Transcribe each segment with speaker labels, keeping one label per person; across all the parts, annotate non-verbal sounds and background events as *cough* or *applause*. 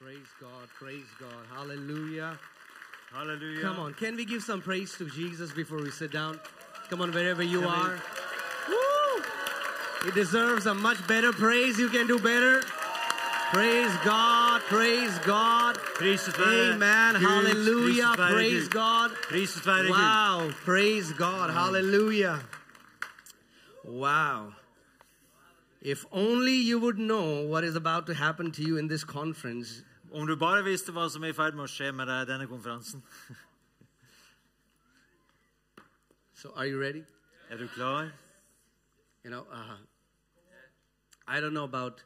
Speaker 1: Praise God. Praise God. Hallelujah.
Speaker 2: Hallelujah.
Speaker 1: Come on. Can we give some praise to Jesus before we sit down? Come on, wherever you
Speaker 2: Can we-
Speaker 1: are. Woo! He deserves a much better praise. You can do better. Praise God. Praise God.
Speaker 2: Priset være
Speaker 1: Amen.
Speaker 2: Gud.
Speaker 1: Hallelujah.
Speaker 2: Priset være
Speaker 1: Praise
Speaker 2: Gud.
Speaker 1: God.
Speaker 2: Priset være Gud.
Speaker 1: Wow. Praise God. Hallelujah. Wow. If only you would know what is about to happen to you in this conference.
Speaker 2: Om du bare visste hva som er i ferd med å skje med deg i denne konferansen.
Speaker 1: So, are you ready?
Speaker 2: Er du klar?
Speaker 1: You know, uh, I don't know about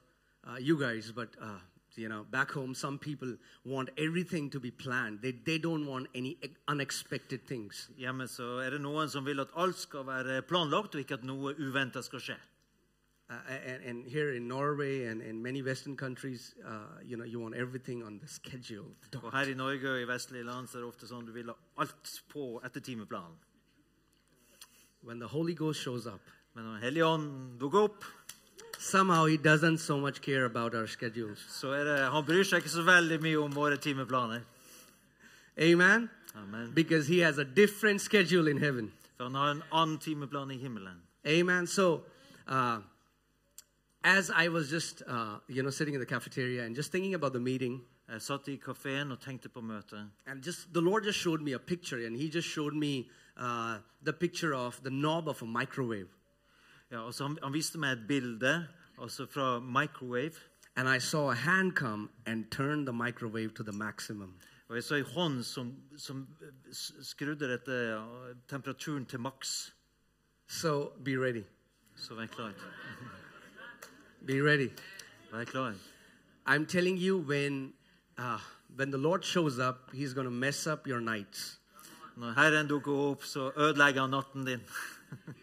Speaker 1: uh, you guys, but uh, you know, back home, some people want everything to be planned. They they don't want any e- unexpected things.
Speaker 2: Hjemme så er det noen som vil at alt skal være planlagt, og ikke at noe uventa skal skje.
Speaker 1: Uh, and, and here in Norway and in many Western countries, uh, you know, you want everything on the schedule.
Speaker 2: Og her i Norge og i vestlige land så er det ofte sånn du vil ha alt på etter timeplanen.
Speaker 1: When the Holy Ghost shows up,
Speaker 2: Men når Den hellige ånd dukker opp,
Speaker 1: somehow He doesn't so much care about our schedules.
Speaker 2: så er det Han bryr seg ikke så veldig mye om våre timeplaner.
Speaker 1: Amen.
Speaker 2: Amen.
Speaker 1: Because He has a different schedule in heaven.
Speaker 2: For han har en annen timeplan i himmelen.
Speaker 1: Amen. So, uh, as I was just, uh, you know, sitting in the cafeteria and just thinking about the meeting,
Speaker 2: Jeg satt i kafeen og tenkte på møtet.
Speaker 1: and just the Lord just showed me a picture, and He just showed me uh, the picture of the knob of a microwave.
Speaker 2: Ja, og så han, han viste meg et bilde altså fra microwave.
Speaker 1: And I saw a hand come and turn the microwave to the maximum.
Speaker 2: Og jeg så ei hånd som, som s- skrudde dette ja, temperaturen til maks.
Speaker 1: So, be ready.
Speaker 2: Så vær klar.
Speaker 1: Be ready.
Speaker 2: Vær klar.
Speaker 1: I'm telling you, when, uh, when the Lord shows up, He's going to mess up your nights.
Speaker 2: Når Herren dukker opp, så ødelegger han natten din.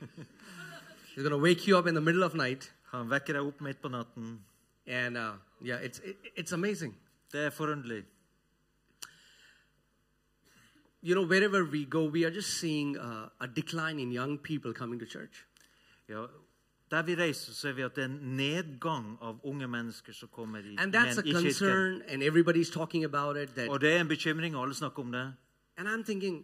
Speaker 2: *laughs*
Speaker 1: He's going to wake you up in the middle of night.
Speaker 2: Han vekker deg opp midt på natten.
Speaker 1: And uh, yeah, it's, it, it's amazing.
Speaker 2: Det er forunderlig.
Speaker 1: you know, wherever we go, we are just seeing uh, a decline in young people coming to church.
Speaker 2: Ja, der vi reiser, ser vi at det er en nedgang av unge mennesker som kommer i,
Speaker 1: And that's a
Speaker 2: men, i kirken.
Speaker 1: concern, and everybody's talking about it. That,
Speaker 2: Og det er en bekymring, og alle snakker om det.
Speaker 1: and I'm thinking,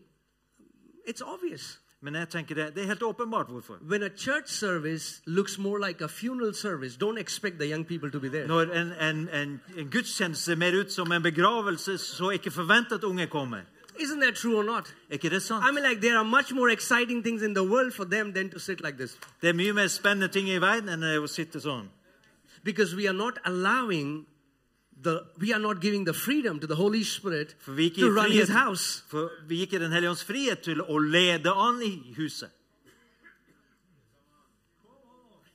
Speaker 1: it's obvious.
Speaker 2: Men jeg tenker det, det er helt åpenbart hvorfor.
Speaker 1: When a church service looks more like a funeral service, don't expect the young people to be there.
Speaker 2: Når en, en, en, en gudstjeneste ser mer ut som en begravelse, så ikke forvent at unge kommer.
Speaker 1: Isn't that true or not?
Speaker 2: Er ikke det
Speaker 1: I
Speaker 2: sant?
Speaker 1: mean, like, there are much more exciting things in the world for them than to sit like this.
Speaker 2: Det er mye mer spennende ting i verden enn å sitte sånn.
Speaker 1: Because we are not allowing the, we are not giving the freedom to the Holy Spirit
Speaker 2: For vi gikk i
Speaker 1: to run his
Speaker 2: frihet-
Speaker 1: house.
Speaker 2: For vi gikk i Den hellige ånds frihet til å lede an i huset.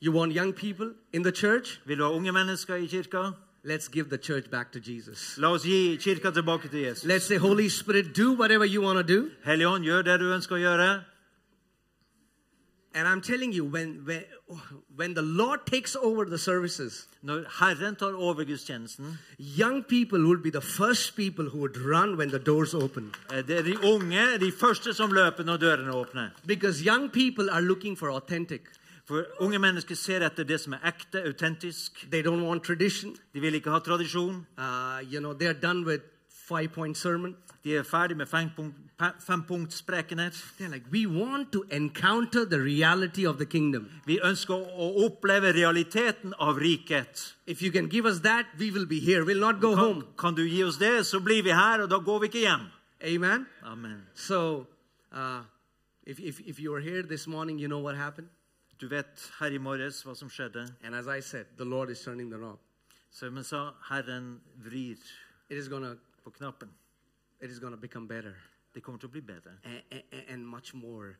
Speaker 1: You want young people in the church?
Speaker 2: Vil du ha unge mennesker i kirka?
Speaker 1: Let's give the church back to Jesus.
Speaker 2: La oss gi kirka tilbake til Jesus.
Speaker 1: Let's say, Holy Spirit, do whatever you want to do.
Speaker 2: Hellige ånd, gjør det du ønsker å gjøre.
Speaker 1: And I'm telling you, when, when, when the Lord takes over the services,
Speaker 2: Når Herren tar over gudstjenesten,
Speaker 1: young people will be the first people who would run when the doors open.
Speaker 2: eh, det er de unge de første som løper når dørene åpner.
Speaker 1: Because young people are looking for authentic.
Speaker 2: For unge mennesker ser etter det som er ekte, autentisk.
Speaker 1: They don't want tradition.
Speaker 2: De vil ikke ha tradisjon.
Speaker 1: Uh, you know, they're done with five point sermon.
Speaker 2: De er ferdig med fempunkt- pe- fempunktsprekener.
Speaker 1: They're like, we want to encounter the reality of the kingdom.
Speaker 2: Vi ønsker å- å oppleve realiteten av riket.
Speaker 1: If you can give us that, we will be here. We'll not go
Speaker 2: Kan,
Speaker 1: home.
Speaker 2: kan du gi oss det, så blir vi her, og da går vi ikke hjem.
Speaker 1: Amen.
Speaker 2: Amen.
Speaker 1: So, uh, if, if, if you were here this morning, you know what happened.
Speaker 2: Du vet her i morges hva som skjedde.
Speaker 1: And as I said, the Lord is turning the knob.
Speaker 2: Sømmen sa Herren vrir
Speaker 1: It is gonna,
Speaker 2: på knappen.
Speaker 1: it is gonna become better
Speaker 2: Det kommer til å bli bedre.
Speaker 1: and, and, much more.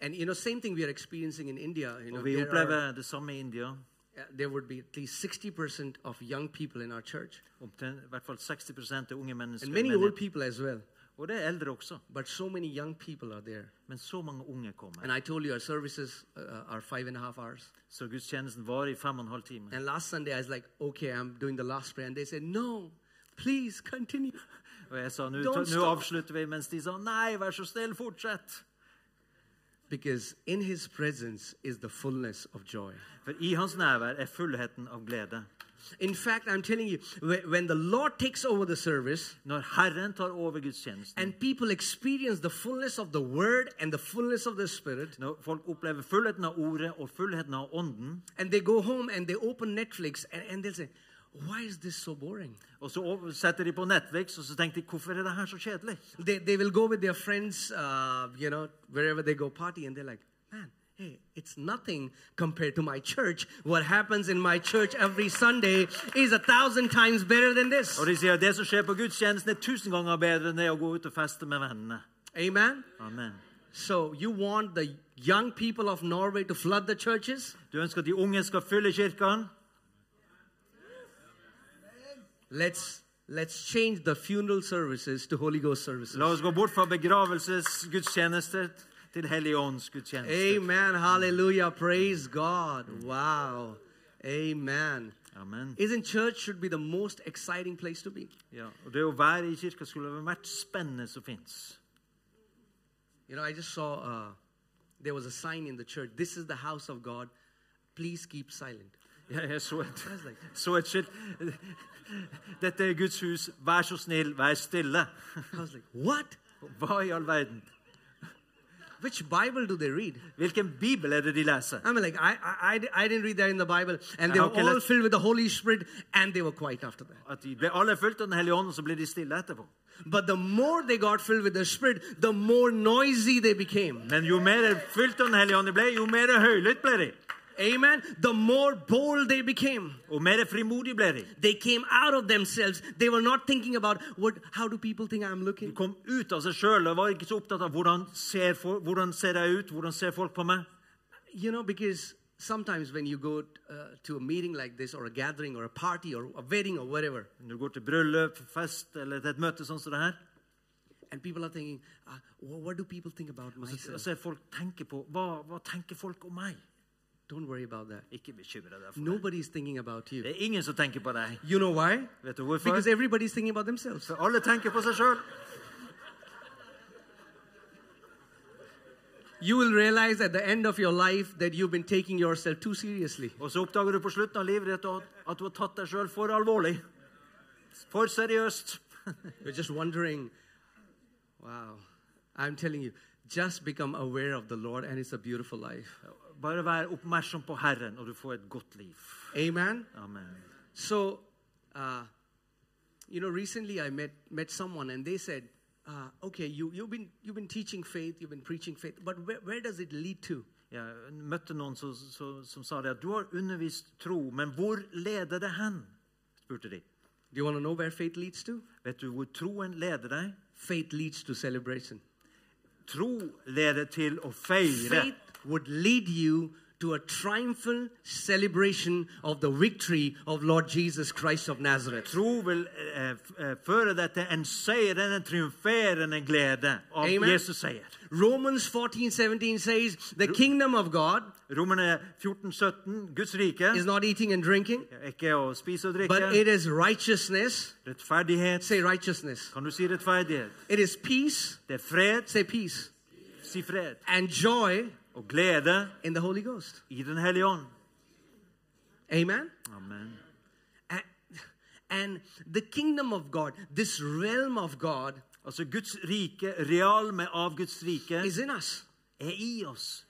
Speaker 1: And you know, same thing we are experiencing in India. You know,
Speaker 2: Og vi
Speaker 1: there, are,
Speaker 2: opplever det samme i India.
Speaker 1: uh, there would be at least sixty percent of young people in our church,
Speaker 2: Omtrent, i hvert fall 60 er unge mennesker.
Speaker 1: and
Speaker 2: i
Speaker 1: many old
Speaker 2: menigheten.
Speaker 1: people as well.
Speaker 2: Og det er eldre også.
Speaker 1: But so many young people are there.
Speaker 2: Men så mange unge kommer.
Speaker 1: And I told you our services uh, are five and a half hours.
Speaker 2: Så gudstjenesten varer i fem og en halv time.
Speaker 1: And last Sunday I was like, okay, I'm doing the last prayer, and they said, no, please continue.
Speaker 2: Og jeg sa nå
Speaker 1: Don't
Speaker 2: nå
Speaker 1: stop.
Speaker 2: avslutter vi, mens de sa nei, vær så snill, fortsett.
Speaker 1: Because in His presence is the fullness of joy.
Speaker 2: For i hans nærvær er fullheten av glede.
Speaker 1: In fact, I'm telling you, wh- when the Lord takes over the service
Speaker 2: Når Herren tar over gudstjenesten,
Speaker 1: and people experience the fullness of the Word and the fullness of the Spirit,
Speaker 2: når folk opplever fullheten av Ordet og fullheten av Ånden,
Speaker 1: and they go home and they open Netflix and, and they'll say, Why is this so boring?
Speaker 2: og så over- setter de på Netflix og så tenker de, 'Hvorfor er det her så kjedelig?'
Speaker 1: They, they will go with their friends, uh, you know, wherever they go party, and they're like, Man, hey, it's nothing compared to my church. What happens in my church every Sunday is a thousand times better than this.
Speaker 2: Og de sier at det som skjer på gudstjenesten, er tusen ganger bedre enn det å gå ut og feste med vennene.
Speaker 1: Amen?
Speaker 2: Amen.
Speaker 1: So, you want the young people of Norway to flood the churches?
Speaker 2: Du ønsker at de unge skal fylle kirken?
Speaker 1: Let's. Let's change the funeral services to Holy Ghost services.
Speaker 2: La oss gå bort fra begravelsesgudstjenester til helligåndsgudstjenester.
Speaker 1: Amen. Hallelujah. Praise God. Wow. Amen.
Speaker 2: Amen.
Speaker 1: Isn't church should be the most exciting place to be?
Speaker 2: Ja, og det å være i kirka skulle være hvert spennende som fins.
Speaker 1: You know, I just saw uh, there was a sign in the church. This is the house of God. Please keep silent.
Speaker 2: Jeg, jeg så et, så et skilt Dette er Guds hus, vær så snill, vær stille.
Speaker 1: I was like, what?
Speaker 2: Hva i all verden?
Speaker 1: Which Bible do they read?
Speaker 2: Hvilken bibel er det de leser?
Speaker 1: I mean, like, I, I, I di- I didn't read that in the Bible. And they
Speaker 2: Ah,
Speaker 1: were
Speaker 2: okay,
Speaker 1: all
Speaker 2: let's-
Speaker 1: filled with the Holy Spirit and they were quiet after that.
Speaker 2: At de ble alle fulgt av Den hellige ånd, og så ble de stille etterpå.
Speaker 1: But the more they got filled with the Spirit, the more noisy they became.
Speaker 2: Men jo mer fylt av Den hellige ånd de ble, jo mer høylytt ble de.
Speaker 1: Amen. The more bold they became.
Speaker 2: Og mer frimodig ble de.
Speaker 1: They came out of themselves. They were not thinking about what how do people think I'm
Speaker 2: De
Speaker 1: looking.
Speaker 2: kom ut av seg sjøl og var ikke så opptatt av hvordan ser, for, hvordan ser jeg ut, hvordan ser folk på meg.
Speaker 1: You know, because sometimes when you go uh, to a meeting like this or a gathering or a party or a wedding or whatever,
Speaker 2: Når du går til bryllup, fest eller til et møte sånn som det her,
Speaker 1: and people are thinking, uh, wh- what do people think about
Speaker 2: så
Speaker 1: myself?
Speaker 2: ser folk tenke på hva, hva tenker folk om meg?
Speaker 1: Don't worry about that.
Speaker 2: Ikke bekymre deg for det.
Speaker 1: Nobody's thinking about you.
Speaker 2: Det er ingen som tenker på deg.
Speaker 1: You know why?
Speaker 2: Vet du hvorfor?
Speaker 1: Because everybody's thinking about themselves.
Speaker 2: For alle tenker på seg sjøl.
Speaker 1: You will realize at the end of your life that you've been taking yourself too seriously.
Speaker 2: Og så oppdager du på slutten av livet ditt at at du har tatt deg sjøl for alvorlig. For seriøst.
Speaker 1: You're just wondering, wow. I'm telling you, just become aware of the Lord and it's a beautiful life.
Speaker 2: Bare vær oppmerksom på Herren, og du får et godt liv.
Speaker 1: Amen.
Speaker 2: Amen.
Speaker 1: So, uh, you know, recently I met met someone, and they said, uh, "Okay, you you've been you've been teaching faith, you've been preaching faith, but where, where does it lead to?"
Speaker 2: Jeg møtte noen som, som, som sa det at du har undervist tro, men hvor leder det hen? spurte de.
Speaker 1: Do you want to know where faith leads to?
Speaker 2: Vet du hvor troen leder deg?
Speaker 1: Faith leads to celebration.
Speaker 2: Tro leder til å feire.
Speaker 1: Faith would lead you to a triumphal celebration of the victory of Lord Jesus Christ of Nazareth.
Speaker 2: Tro vil eh, f- eh, føre deg til en seirende, triumferende glede av
Speaker 1: Amen.
Speaker 2: Jesus seier.
Speaker 1: Romans 14, 17 says, The kingdom of God
Speaker 2: Romerne 14, 17, Guds rike
Speaker 1: is not eating and drinking,
Speaker 2: er ikke å spise og drikke.
Speaker 1: but it is righteousness.
Speaker 2: Rettferdighet.
Speaker 1: Say righteousness.
Speaker 2: Kan du si rettferdighet?
Speaker 1: It is peace.
Speaker 2: Det er fred.
Speaker 1: Say peace.
Speaker 2: Si fred.
Speaker 1: And joy
Speaker 2: Og glede
Speaker 1: in the Holy Ghost.
Speaker 2: i Den hellige ånd.
Speaker 1: Amen.
Speaker 2: Amen.
Speaker 1: And, and the kingdom of God, this realm of God,
Speaker 2: Altså Guds rike, realme av Guds rike,
Speaker 1: is in us.
Speaker 2: er i oss.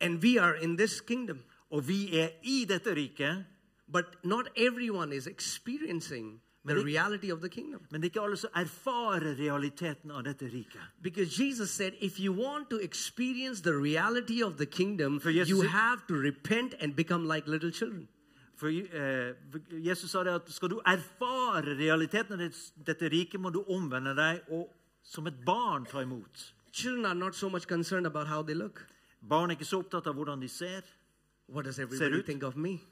Speaker 1: And we are in this kingdom.
Speaker 2: Og vi er i dette riket,
Speaker 1: But not everyone is experiencing the reality of the kingdom.
Speaker 2: men det er ikke alle som erfarer realiteten av dette riket.
Speaker 1: Because Jesus said, if you want to experience the reality of the kingdom,
Speaker 2: Jesus
Speaker 1: you
Speaker 2: said-
Speaker 1: have to repent and become like little children.
Speaker 2: For eh, for Jesus sa det at skal du erfare realiteten av det- dette riket, må du omvende deg og som et barn ta imot.
Speaker 1: Children are not so much concerned about how they look.
Speaker 2: Barn er ikke så opptatt av hvordan de ser.
Speaker 1: What does everybody
Speaker 2: ut.
Speaker 1: think of me?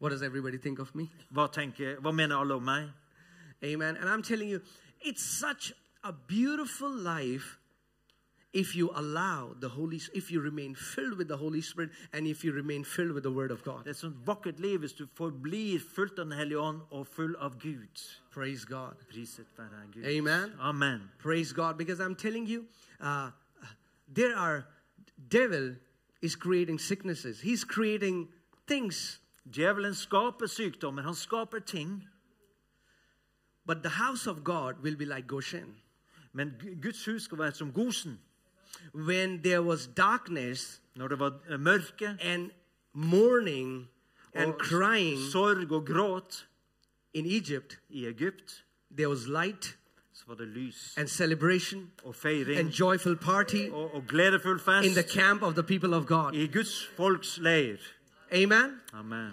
Speaker 1: What does everybody think of me?
Speaker 2: Hva, tenker, hva mener alle om meg?
Speaker 1: Amen. And I'm telling you, it's such a beautiful life if you allow the Holy, if you remain filled with the Holy Spirit and if you remain filled with the Word of
Speaker 2: Det er
Speaker 1: God.
Speaker 2: et sånt vakkert liv hvis du forblir fullt av Den hellige ånd og full av Gud.
Speaker 1: Praise God.
Speaker 2: Priset være Gud.
Speaker 1: Amen.
Speaker 2: Amen.
Speaker 1: Praise God. Because I'm telling you, uh, there are, devil is creating sicknesses. He's creating things
Speaker 2: Djevelen skaper sykdommer, han skaper ting.
Speaker 1: But the house of God will be like Goshen.
Speaker 2: Men Gu- Guds hus skal være som Gosen.
Speaker 1: When there was darkness
Speaker 2: Når det var eh, mørke
Speaker 1: and mourning and
Speaker 2: og
Speaker 1: crying
Speaker 2: sorg og gråt
Speaker 1: in Egypt,
Speaker 2: i Egypt,
Speaker 1: there was light
Speaker 2: så var det lys
Speaker 1: and celebration
Speaker 2: og feiring
Speaker 1: and joyful party
Speaker 2: og, og gledefull
Speaker 1: in the
Speaker 2: fest
Speaker 1: camp of the people of God.
Speaker 2: i Guds folks leir.
Speaker 1: Amen.
Speaker 2: Amen.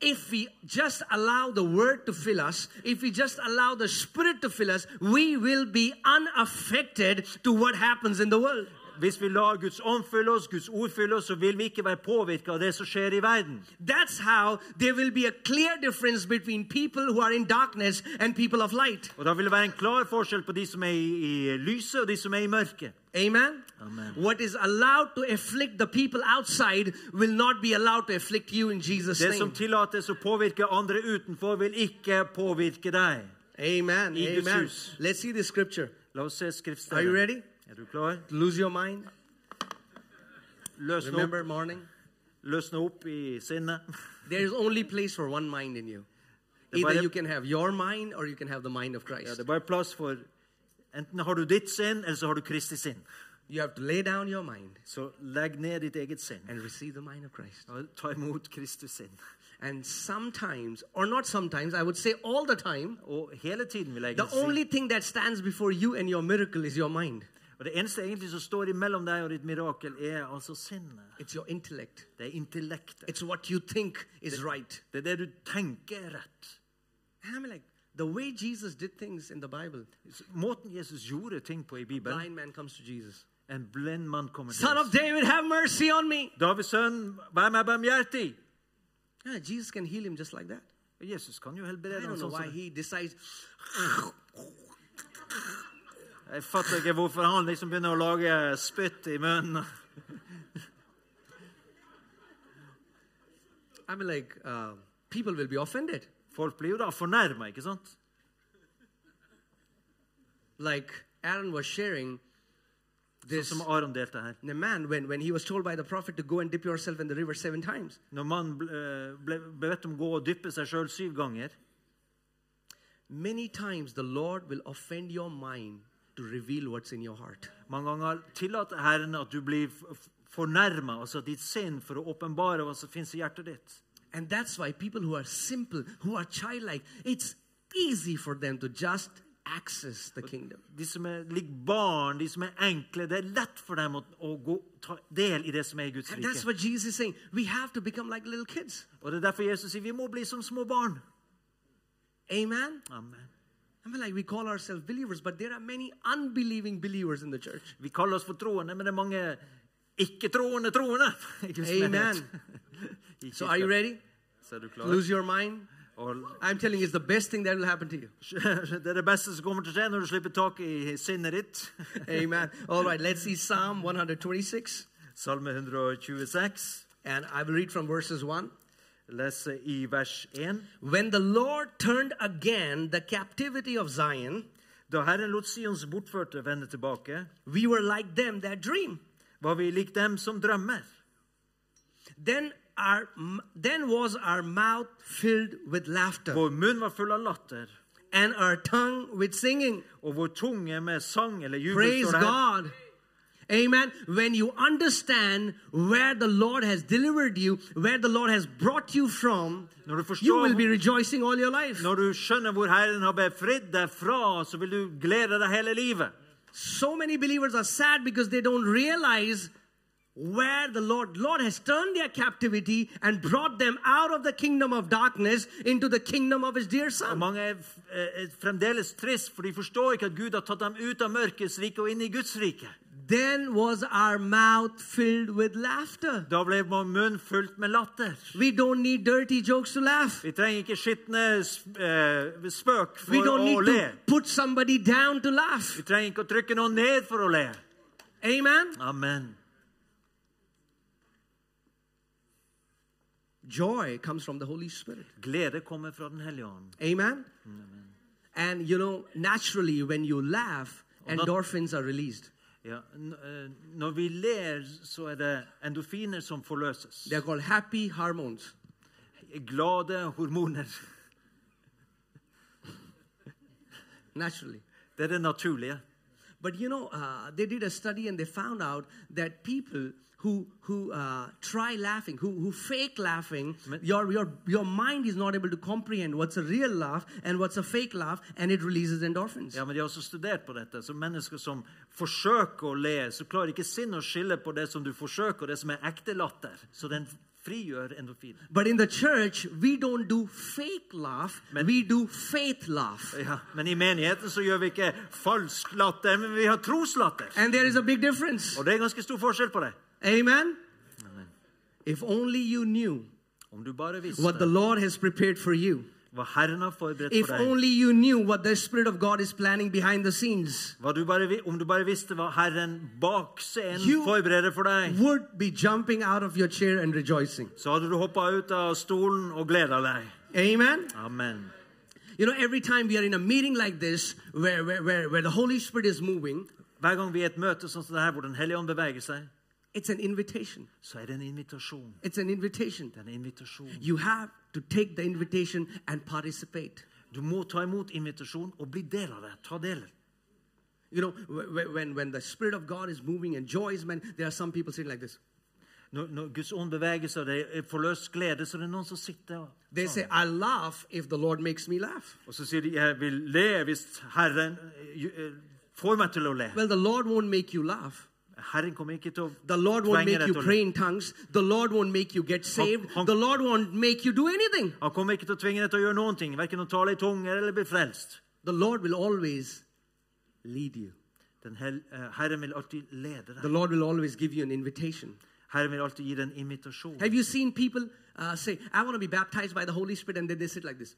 Speaker 1: If we just allow the word to fill us, if we just allow the spirit to fill us, we will be unaffected to what happens in the world.
Speaker 2: Hvis vi lar Guds ånd fylle oss, Guds ord fylle oss, så vil vi ikke være påvirka av det som skjer i verden.
Speaker 1: That's how there will be a clear difference between people who are in darkness and people of light.
Speaker 2: Og Da vil det være en klar forskjell på de som er i, i lyset, og de som er i mørket.
Speaker 1: Amen?
Speaker 2: Amen.
Speaker 1: What is allowed to afflict the people outside will not be allowed to afflict you in Jesus'
Speaker 2: Det som
Speaker 1: name.
Speaker 2: tillates å påvirke andre utenfor, vil ikke påvirke deg.
Speaker 1: Amen.
Speaker 2: Eagle
Speaker 1: Amen.
Speaker 2: shoes.
Speaker 1: Let's see the scripture.
Speaker 2: La oss se skriftstedet.
Speaker 1: Are you ready?
Speaker 2: Er du klar?
Speaker 1: Lose your mind.
Speaker 2: Løsne opp,
Speaker 1: Remember morning.
Speaker 2: løsne opp i sinnet.
Speaker 1: There is only place for one mind in you.
Speaker 2: The
Speaker 1: Either
Speaker 2: Bible-
Speaker 1: you can have your mind or you can have the mind of Christ.
Speaker 2: Ja, det er bare plass for Enten har du ditt sinn, eller så har du Kristi sinn.
Speaker 1: You have to lay down your mind
Speaker 2: Så legg ned ditt eget sinn
Speaker 1: and receive the mind of Christ.
Speaker 2: og ta imot Kristus sinn.
Speaker 1: And sometimes, or not sometimes, I would say all the time,
Speaker 2: Og hele tiden vil jeg
Speaker 1: the
Speaker 2: egentlig si
Speaker 1: only thing that stands before you and your miracle is your mind,
Speaker 2: Og Det eneste egentlig som står imellom deg og ditt mirakel, er altså sinnet.
Speaker 1: it's your intellect,
Speaker 2: Det er intellektet.
Speaker 1: it's what you think is right.
Speaker 2: Det er det du tenker er rett.
Speaker 1: And I'm like, the way Jesus did things in the Bible,
Speaker 2: Måten Jesus gjorde ting på i Bibelen
Speaker 1: blind man comes to Jesus.
Speaker 2: En blind mann kommer til
Speaker 1: Son of
Speaker 2: oss.
Speaker 1: David, have mercy on me.
Speaker 2: Davids sønn, vær meg barmhjertig!
Speaker 1: Yeah, Jesus can heal him just like that.
Speaker 2: Jesus kan jo
Speaker 1: I
Speaker 2: helbrede ham.
Speaker 1: don't know
Speaker 2: Sånn
Speaker 1: why
Speaker 2: som
Speaker 1: he decides.
Speaker 2: jeg fatter ikke hvorfor han liksom begynner å lage spytt i munnen.
Speaker 1: I'm like, uh, people will be offended.
Speaker 2: Folk blir jo da fornærma, ikke sant? Sånn
Speaker 1: Like Aaron was sharing this.
Speaker 2: Som Aron delte her.
Speaker 1: The man, when, when he was told by the prophet to go and dip yourself in the river seven times,
Speaker 2: Når mannen ble, ble bedt om å gå og dyppe seg sjøl syv ganger
Speaker 1: many times the Lord will offend your mind to reveal what's in your heart.
Speaker 2: Mange ganger tillater Herren at du blir fornærma, altså ditt sinn, for å åpenbare hva som fins i hjertet ditt.
Speaker 1: And that's why people who are simple, who are childlike, it's easy for them to just access the kingdom.
Speaker 2: De som er, ligger barn, de som er enkle Det er lett for dem å, å gå, ta del i det som er i Guds
Speaker 1: And that's
Speaker 2: rike.
Speaker 1: what Jesus is saying. We have to become like little kids.
Speaker 2: Og Det er derfor Jesus sier vi må bli som små barn.
Speaker 1: Amen.
Speaker 2: Amen.
Speaker 1: I mean, like we call ourselves believers, but there are many unbelieving believers in the church.
Speaker 2: Vi kaller oss for troende, men det er mange ikke-troende troende. *laughs* i Guds
Speaker 1: Amen.
Speaker 2: *laughs* menighet. I
Speaker 1: So are you
Speaker 2: kirka.
Speaker 1: ready?
Speaker 2: Så er du klar?
Speaker 1: Lose your mind.
Speaker 2: Og
Speaker 1: I'm telling you, it's the best thing that will happen to you.
Speaker 2: *laughs* Det er det beste som kommer til å skje når du slipper tak i sinnet ditt. *laughs*
Speaker 1: Amen. All right, let's see Psalm 126.
Speaker 2: Salme 126,
Speaker 1: And I will read from verses 1.
Speaker 2: leser i vers 1.
Speaker 1: When the Lord turned again the captivity of Zion,
Speaker 2: Da Herren lot Sions bortførte vende tilbake,
Speaker 1: we were like them that dream.
Speaker 2: var vi lik dem som drømmer.
Speaker 1: Then our then was our mouth filled with laughter
Speaker 2: Vår munn var full av latter,
Speaker 1: and our tongue with singing.
Speaker 2: og vår tunge med sang eller jubel.
Speaker 1: Praise
Speaker 2: står det her.
Speaker 1: God. Amen. When you understand where the Lord has delivered you, where the Lord has brought you from,
Speaker 2: Når du forstår
Speaker 1: you will be rejoicing all your life.
Speaker 2: Når du skjønner hvor Herren har befridd deg fra, så vil du glede deg hele livet.
Speaker 1: so many believers are sad because they don't realize where the lord lord has turned their captivity and brought them out of the kingdom of darkness into the kingdom of his dear
Speaker 2: Og
Speaker 1: son
Speaker 2: mange er, f- er fremdeles trist, for de forstår ikke at Gud har tatt dem ut av mørkets rike og inn i Guds rike.
Speaker 1: then was our mouth filled with laughter
Speaker 2: Da ble vår munn fullt med latter.
Speaker 1: we don't need dirty jokes to laugh
Speaker 2: Vi trenger ikke skitne sp- eh, spøk
Speaker 1: we
Speaker 2: for
Speaker 1: don't
Speaker 2: å
Speaker 1: need
Speaker 2: le.
Speaker 1: to put somebody down to laugh
Speaker 2: Vi trenger ikke å trykke noen ned for å le.
Speaker 1: amen
Speaker 2: Amen.
Speaker 1: joy comes from the holy spirit
Speaker 2: Glede kommer fra Den hellige ånd.
Speaker 1: amen and you know naturally when you laugh endorphins are released
Speaker 2: Ja, n eh, når vi ler, så er det endorfiner som forløses.
Speaker 1: they're called happy hormones
Speaker 2: glade hormoner.
Speaker 1: naturally.
Speaker 2: Det er det naturlige.
Speaker 1: But you know, uh, they did a study and they found out that people who who uh, try laughing, who who fake laughing, your your your mind is not able to comprehend what's a real laugh and what's a fake laugh, and it releases endorphins.
Speaker 2: Ja, men De har også studert på dette. Så Mennesker som forsøker å le, så klarer ikke sinnet å skille på det som du forsøker, og det som er ekte latter. Så den frigjør endorfiner.
Speaker 1: But in the church, we don't do fake laugh, we do faith laugh.
Speaker 2: Ja, men i menigheten så gjør vi ikke falsk latter, men vi har troslatter.
Speaker 1: And there is a big difference.
Speaker 2: Og det er ganske stor forskjell på det.
Speaker 1: Amen? If only you knew
Speaker 2: Om du bare
Speaker 1: what the
Speaker 2: visste
Speaker 1: Lord has prepared for you.
Speaker 2: hva Herren har forberedt
Speaker 1: If
Speaker 2: for deg,
Speaker 1: only you knew what the Spirit of God is planning behind the scenes.
Speaker 2: hva du bare, vi- om du bare visste hva Herren bak
Speaker 1: You-
Speaker 2: scenen forbereder for deg,
Speaker 1: would be jumping out of your chair and rejoicing.
Speaker 2: så hadde du hoppa ut av stolen og gleda deg.
Speaker 1: Amen.
Speaker 2: Amen.
Speaker 1: You know, every time we are in a meeting like this, where where where, where the Holy Spirit is moving,
Speaker 2: Hver gang vi er i et møte sånn som det her, hvor Den hellige ånd beveger seg,
Speaker 1: it's an invitation.
Speaker 2: så er det en invitasjon.
Speaker 1: It's an invitation.
Speaker 2: Det er en invitasjon.
Speaker 1: You have to take the invitation and participate.
Speaker 2: Du må ta imot invitasjonen og bli del av det. Ta del.
Speaker 1: You know, wh- wh- when when the Spirit of God is moving and joy is man, there are some people sitting like this.
Speaker 2: Når, når Guds ånd beveger seg, og det forløser glede, så er det noen som sitter og
Speaker 1: They say, "I laugh if the Lord makes me laugh."
Speaker 2: Og så sier de 'Jeg vil le hvis Herren eh, får meg til å le'.
Speaker 1: Well, the Lord won't make you laugh.
Speaker 2: Herren kommer ikke til å
Speaker 1: The Lord won't
Speaker 2: tvinge
Speaker 1: make
Speaker 2: deg
Speaker 1: you
Speaker 2: til å
Speaker 1: pray
Speaker 2: le.
Speaker 1: in tongues. The Lord won't make you get saved.
Speaker 2: hung-
Speaker 1: The Lord won't make you do anything.
Speaker 2: Han kommer ikke til å tvinge deg til å gjøre noen ting, verken å tale i tunger eller bli frelst.
Speaker 1: The Lord will always lead you.
Speaker 2: Den hel, eh, Herren vil alltid lede
Speaker 1: The
Speaker 2: deg.
Speaker 1: Lord will always give you an invitation.
Speaker 2: Herren vil alltid gi deg en invitasjon.
Speaker 1: Have you seen people uh, say, I want to be baptized by the Holy Spirit, and then they sit like this?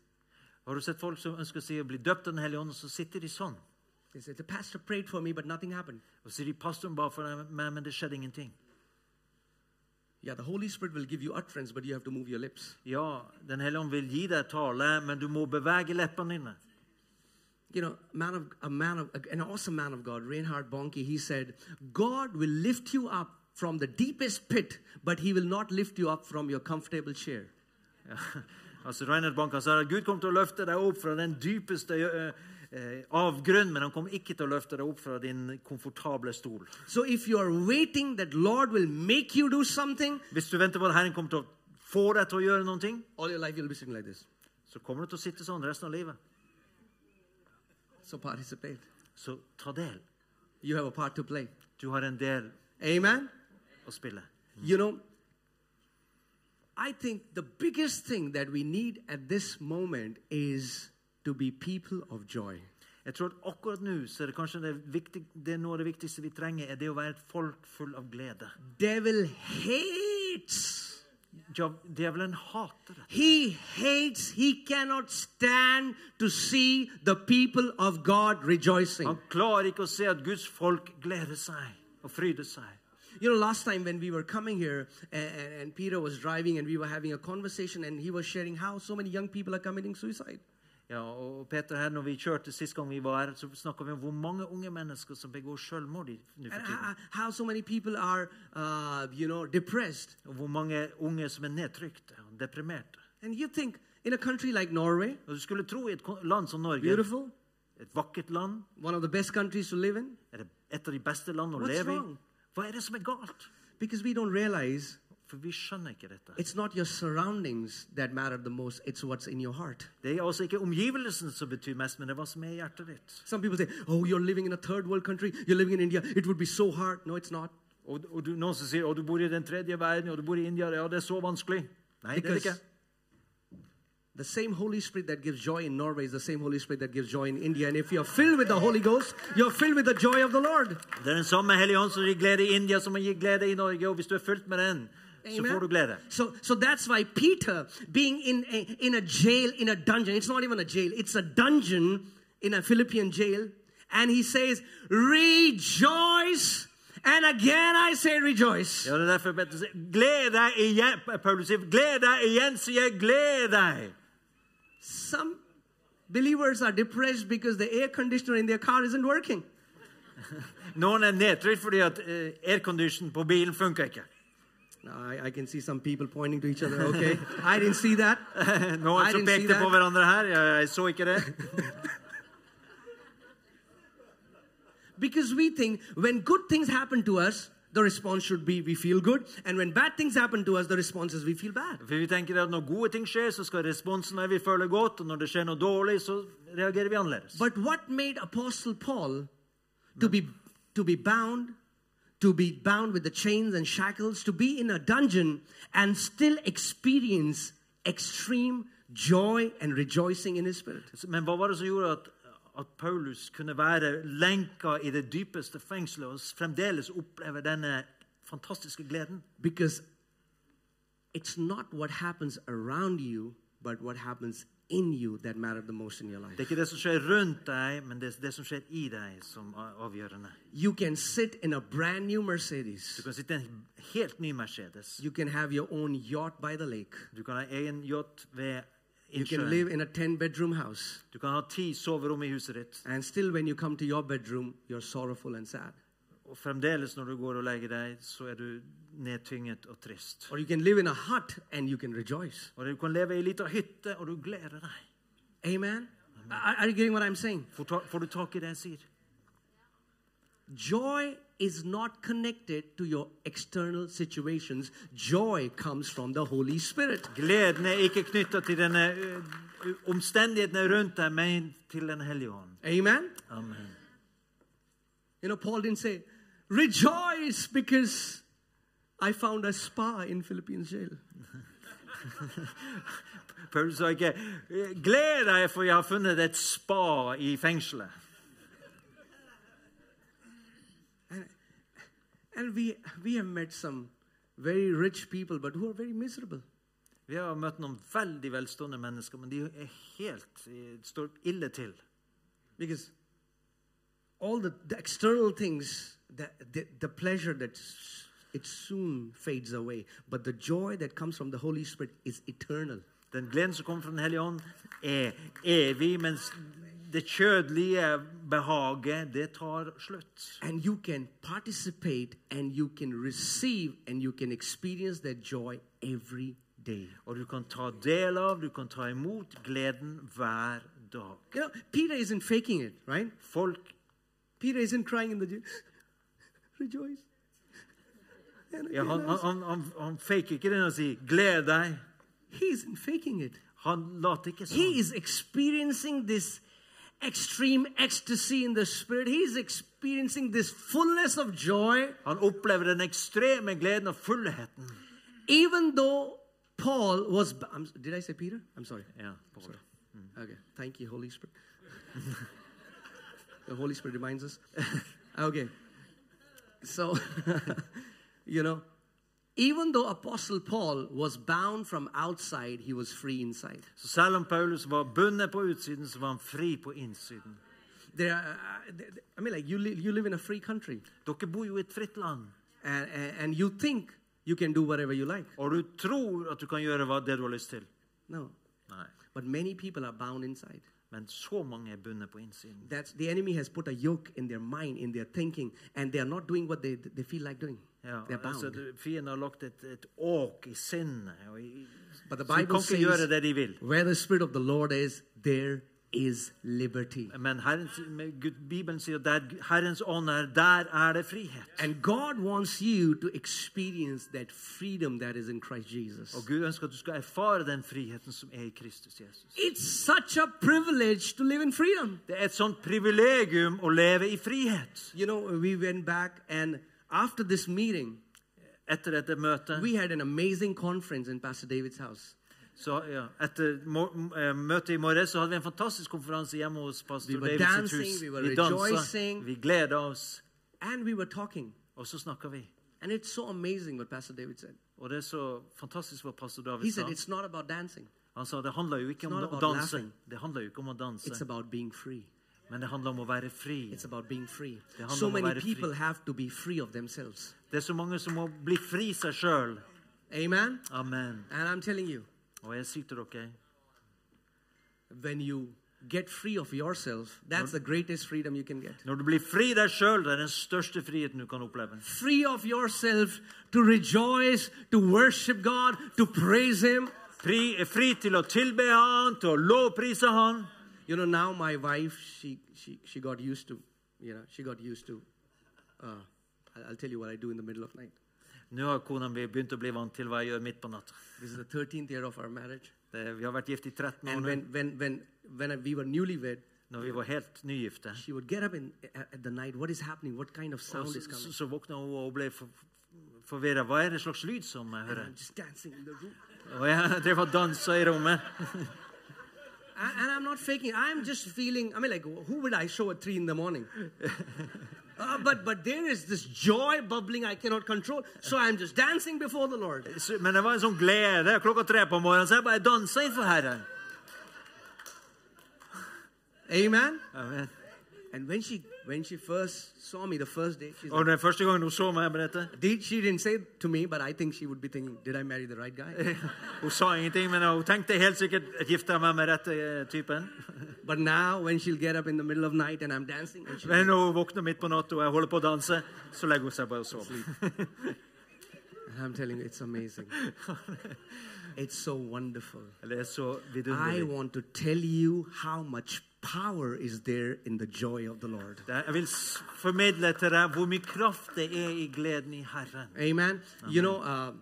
Speaker 2: Har du sett folk som ønsker å si å bli døpt av Den hellige ånd, og så sitter de sånn?
Speaker 1: They say, The pastor prayed for me, but nothing happened.
Speaker 2: Og så sier de 'Pastoren ba for deg, men men det skjedde ingenting'.
Speaker 1: Yeah, the Holy Spirit will give you utterance, but you have to move your lips.
Speaker 2: Ja, Den hellige ånd vil gi deg tale, men du må bevege leppene dine.
Speaker 1: You know, man of, a man of, an awesome man of God, Reinhard Bonnke, he said, God will lift you up from the deepest pit, but he will not lift you up from your comfortable chair.
Speaker 2: Ja. *laughs* Altså, Reinhard Banka sa at Gud kom til å løfte deg opp fra den dypeste ø, ø, avgrunn, men han kom ikke til å løfte deg opp fra din komfortable stol.
Speaker 1: So if you are waiting that Lord will make you do something,
Speaker 2: Hvis du venter på at Herren kommer til å få deg til å gjøre noen ting,
Speaker 1: all your life you'll be sitting like this.
Speaker 2: så kommer du til å sitte sånn resten av livet.
Speaker 1: So participate.
Speaker 2: Så ta del.
Speaker 1: You have a part to play.
Speaker 2: Du har en del
Speaker 1: Amen.
Speaker 2: å spille.
Speaker 1: You know, I think the biggest thing that we need at this moment is to be people of joy.
Speaker 2: Jeg tror at akkurat nå så er det kanskje det, viktig, det er noe av det viktigste vi trenger, er det å være et folk full av glede.
Speaker 1: Devil hates.
Speaker 2: Ja, Djevelen hater det.
Speaker 1: He hates. He cannot stand to see the people of God rejoicing.
Speaker 2: Han klarer ikke å se at Guds folk gleder seg og fryder seg.
Speaker 1: You know, last time when we were coming here and, and Peter was driving and we were having a conversation and he was sharing how so many young people are committing suicide.
Speaker 2: Ja, og Peter her, når vi kjørte sist gang vi var her, så snakket vi om hvor mange unge mennesker som begår selvmord i nå for
Speaker 1: And
Speaker 2: tiden.
Speaker 1: how, how so many people are, uh, you know, depressed.
Speaker 2: Og hvor mange unge som er nedtrykte og deprimerte.
Speaker 1: And you think in a country like Norway,
Speaker 2: Og du skulle tro i et kon- land som Norge,
Speaker 1: beautiful,
Speaker 2: et vakkert land,
Speaker 1: one of the best countries to live in,
Speaker 2: er det et av de beste land å
Speaker 1: What's
Speaker 2: leve i.
Speaker 1: wrong?
Speaker 2: Hva er det som er galt?
Speaker 1: because we don't realize
Speaker 2: For vi skjønner ikke dette.
Speaker 1: it's not your surroundings that matter the most, it's what's in your heart.
Speaker 2: Det er altså ikke omgivelsen som betyr mest, men det er hva som er i hjertet ditt.
Speaker 1: Some people say, oh, you're living in a third world country, you're living in India, it would be so hard. No, it's not.
Speaker 2: Og, og du, noen som sier, å, du bor i den tredje verden, og du bor i India, ja, det er så vanskelig. Nei, det er det
Speaker 1: Because
Speaker 2: ikke.
Speaker 1: the same Holy Spirit that gives joy in Norway is the same Holy Spirit that gives joy in India. And if you're filled with the Holy Ghost, you're filled with the joy of the Lord.
Speaker 2: Det er den samme Hellige Ånd som gir glede i India, som gir glede i Norge. Og hvis du er fulgt med den, så
Speaker 1: Amen.
Speaker 2: får du glede.
Speaker 1: So, so that's why Peter, being in a, in a jail, in a dungeon, it's not even a jail, it's a dungeon in a Philippian jail, and he says, Rejoice! And again I say, Rejoice.
Speaker 2: Ja, det er derfor Peter sier, gled deg igjen, Paulus sier, gled deg igjen, sier jeg, gled deg.
Speaker 1: Some believers are depressed because the air conditioner in their car isn't working.
Speaker 2: Noen er nedtrykt fordi at eh, aircondition på bilen funker ikke.
Speaker 1: I, I can see some people pointing to each other. Okay, I didn't see that.
Speaker 2: *laughs* Noen
Speaker 1: I
Speaker 2: som
Speaker 1: didn't see
Speaker 2: pekte på
Speaker 1: that.
Speaker 2: hverandre her. Jeg, jeg så ikke det.
Speaker 1: Because we think when good things happen to us, the response should be we feel good, and when bad things happen to us, the response is we feel bad.
Speaker 2: For vi tenker at når gode ting skjer, så skal responsen være vi føler godt. Og når det skjer noe dårlig, så reagerer vi annerledes.
Speaker 1: But what made Apostle Paul to be to be bound, to be bound with the chains and shackles, to be in a dungeon and still experience extreme joy and rejoicing in his spirit?
Speaker 2: Men hva var det som gjorde at, at Paulus kunne være lenka i det dypeste fengselet og fremdeles oppleve denne fantastiske gleden?
Speaker 1: Because it's not what happens around you, but what happens in you that matter the most in your life.
Speaker 2: Det er ikke det som skjer rundt deg, men det er det som skjer i deg, som er avgjørende.
Speaker 1: You can sit in a brand new
Speaker 2: Du
Speaker 1: Mercedes.
Speaker 2: kan sitte i en helt ny Mercedes.
Speaker 1: You can have your own yacht by the lake.
Speaker 2: Du kan ha egen yacht ved
Speaker 1: You can
Speaker 2: innsjøen.
Speaker 1: live in a 10 bedroom house.
Speaker 2: Du kan ha ti soverom i huset ditt.
Speaker 1: And still, when you come to your bedroom, you're sorrowful and sad.
Speaker 2: Og fremdeles når du går og legger deg, så er du nedtynget og trist.
Speaker 1: Or you can live in a hut and you can rejoice.
Speaker 2: Og du kan leve i ei lita hytte, og du gleder deg.
Speaker 1: Amen? Are, are you getting what I'm saying?
Speaker 2: Får, ta, får du tak i det jeg sier?
Speaker 1: Joy is not connected to your external situations, joy comes from the Holy Spirit.
Speaker 2: Gleden er ikke knytta til denne ø, ø, omstendighetene rundt deg, men til Den hellige ånd.
Speaker 1: Amen?
Speaker 2: Amen.
Speaker 1: You know, Paul didn't say, Rejoice because I found a spa in Philippines jail.
Speaker 2: Paulus sa ikke 'Gled deg, for jeg har funnet et spa i fengselet'.
Speaker 1: And we, we have met some very rich people, but who are very miserable.
Speaker 2: Vi har møtt noen veldig velstående mennesker, men de er helt, eh, står ille til.
Speaker 1: Because all the, the external things, the, the, the pleasure that s- it soon fades away, but the joy that comes from the Holy Spirit is eternal.
Speaker 2: Den gleden som kommer fra Den hellige ånd, er evig, mens det kjødelige behaget, det tar slutt.
Speaker 1: And you can participate and you can receive and you can experience that joy every day.
Speaker 2: Og du kan ta del av, du kan ta imot gleden hver dag.
Speaker 1: You know, Peter isn't faking it, right?
Speaker 2: Folk
Speaker 1: Peter isn't crying in the jail. *laughs* Rejoice. And
Speaker 2: ja, han,
Speaker 1: again, uh,
Speaker 2: han, han, han, han faker ikke den og sier 'gled deg'.
Speaker 1: He isn't faking it.
Speaker 2: Han later ikke sånn.
Speaker 1: He is experiencing this extreme ecstasy in the spirit. He is experiencing this fullness of joy,
Speaker 2: Han opplever den ekstreme gleden og fullheten.
Speaker 1: even though Paul was. I'm, did I say Peter? I'm sorry.
Speaker 2: Ja, Paul.
Speaker 1: Okay. Thank you, Holy Spirit. *laughs* the Holy Spirit reminds us. *laughs* okay. So, *laughs* you know, even though Apostle Paul was bound from outside, he was free inside.
Speaker 2: Så selv om Paulus var bundet på utsiden, så var han fri på innsiden.
Speaker 1: There, are- uh, I mean, like you, li- you live in a free country.
Speaker 2: Dere bor jo i et fritt land,
Speaker 1: and, and, and you think you can do whatever you like.
Speaker 2: og du tror at du kan gjøre hva det du har lyst til.
Speaker 1: No.
Speaker 2: Nei.
Speaker 1: But many people are bound inside.
Speaker 2: Men så mange er bundet på innsiden.
Speaker 1: That's the enemy has put a yoke in their mind, in their thinking, and they are not doing what they, they feel like doing.
Speaker 2: Ja,
Speaker 1: They're bound.
Speaker 2: altså, du- Fienden har lagt et, et åk i sinnet. Og i,
Speaker 1: But the
Speaker 2: så de
Speaker 1: Bible
Speaker 2: kan ikke gjøre
Speaker 1: says-
Speaker 2: det de vil.
Speaker 1: Where the Spirit of the Lord is, there is liberty.
Speaker 2: Men Herren, sier- men Gud, Bibelen sier at der Herrens ånd er, der er det frihet.
Speaker 1: And God wants you to experience that freedom that is in Christ Jesus.
Speaker 2: Og Gud ønsker at du skal erfare den friheten som er i Kristus Jesus.
Speaker 1: It's such a privilege to live in freedom.
Speaker 2: Det er et sånt privilegium å leve i frihet.
Speaker 1: You know, we went back, and after this meeting,
Speaker 2: Etter dette møtet
Speaker 1: we had an amazing conference in Pastor David's house.
Speaker 2: så, ja, Etter må- m- eh, møtet i morges så hadde vi en fantastisk konferanse hjemme hos pastor
Speaker 1: We were
Speaker 2: Davids
Speaker 1: dancing,
Speaker 2: hus.
Speaker 1: we were
Speaker 2: Vi dansa,
Speaker 1: rejoicing.
Speaker 2: vi gleda oss,
Speaker 1: And we were talking.
Speaker 2: og så snakka vi.
Speaker 1: And it's so amazing what Pastor David said.
Speaker 2: Og det er så fantastisk hva pastor David
Speaker 1: He
Speaker 2: sa.
Speaker 1: said, It's not about dancing,
Speaker 2: Han sa det handler jo ikke om
Speaker 1: not
Speaker 2: å
Speaker 1: about
Speaker 2: danse,
Speaker 1: laughing.
Speaker 2: det handler jo ikke om å
Speaker 1: it's
Speaker 2: danse,
Speaker 1: about being free.
Speaker 2: men det handler om å være fri.
Speaker 1: It's about being free.
Speaker 2: Det handlar
Speaker 1: So
Speaker 2: om att
Speaker 1: many
Speaker 2: vara fri.
Speaker 1: people have to be free of themselves.
Speaker 2: Det er så mange som må bli fri seg sjøl.
Speaker 1: Amen?
Speaker 2: Amen.
Speaker 1: And I'm telling you,
Speaker 2: Og jeg sier til dere
Speaker 1: when you get free of yourself. That's the greatest freedom you can get.
Speaker 2: Når du blir fri deg sjøl, det er den største friheten du kan oppleve.
Speaker 1: Free of yourself to rejoice, to worship God, to praise Him.
Speaker 2: Fri, fri til å tilbe Han, til å lovprise Han.
Speaker 1: You know, now my wife, she, she, she got used to, you know, she got used to, uh, I'll- I'll tell you what I do in the middle of night.
Speaker 2: Nå har kona mi begynt å bli vant til hva jeg gjør midt på natta.
Speaker 1: This is the 13th year of our marriage.
Speaker 2: Det- Vi har vært gift i 13 år
Speaker 1: And
Speaker 2: nå.
Speaker 1: when, when, when, when we were newlywed,
Speaker 2: Når vi var helt nygifte,
Speaker 1: she would get up in, at, at the night, what is happening? What kind of
Speaker 2: Og
Speaker 1: sound
Speaker 2: så,
Speaker 1: is coming?
Speaker 2: så, så våkna hun og ble forvirra. Hva er det slags lyd som jeg hører?
Speaker 1: I'm just dancing in the room.
Speaker 2: Og jeg drev og dansa i rommet.
Speaker 1: And, and I'm not faking. I'm just feeling. I mean, like, who would I show at three in the morning? *laughs* Uh, but but there is this joy bubbling I cannot control. So I'm just dancing before the Lord.
Speaker 2: Så- Men det var en sånn glede klokka tre på morgenen, så jeg bare dansa innenfor Herren.
Speaker 1: Amen.
Speaker 2: Amen.
Speaker 1: And when she when she first saw me the first day, she's like,
Speaker 2: Og den første gangen hun så meg, Benette,
Speaker 1: did, she didn't say it to me, but I think she would be thinking, did I marry the right guy?
Speaker 2: hun sa ingenting, men hun tenkte helt sikkert gifta jeg meg med rette eh, typen.
Speaker 1: But now when she'll get up in the middle of night and I'm dancing, and she'll,
Speaker 2: Men når hun våkner midt på natta og jeg holder på å danse, så legger hun seg bare og sover.
Speaker 1: and I'm telling you, it's amazing. it's so wonderful.
Speaker 2: Det er så
Speaker 1: I
Speaker 2: vidunderlig.
Speaker 1: want to tell you how much power is there in the joy of the Lord.
Speaker 2: Det er- Jeg vil s- formidle til deg hvor mye kraft det er i gleden i Herren.
Speaker 1: Amen. You know, uh,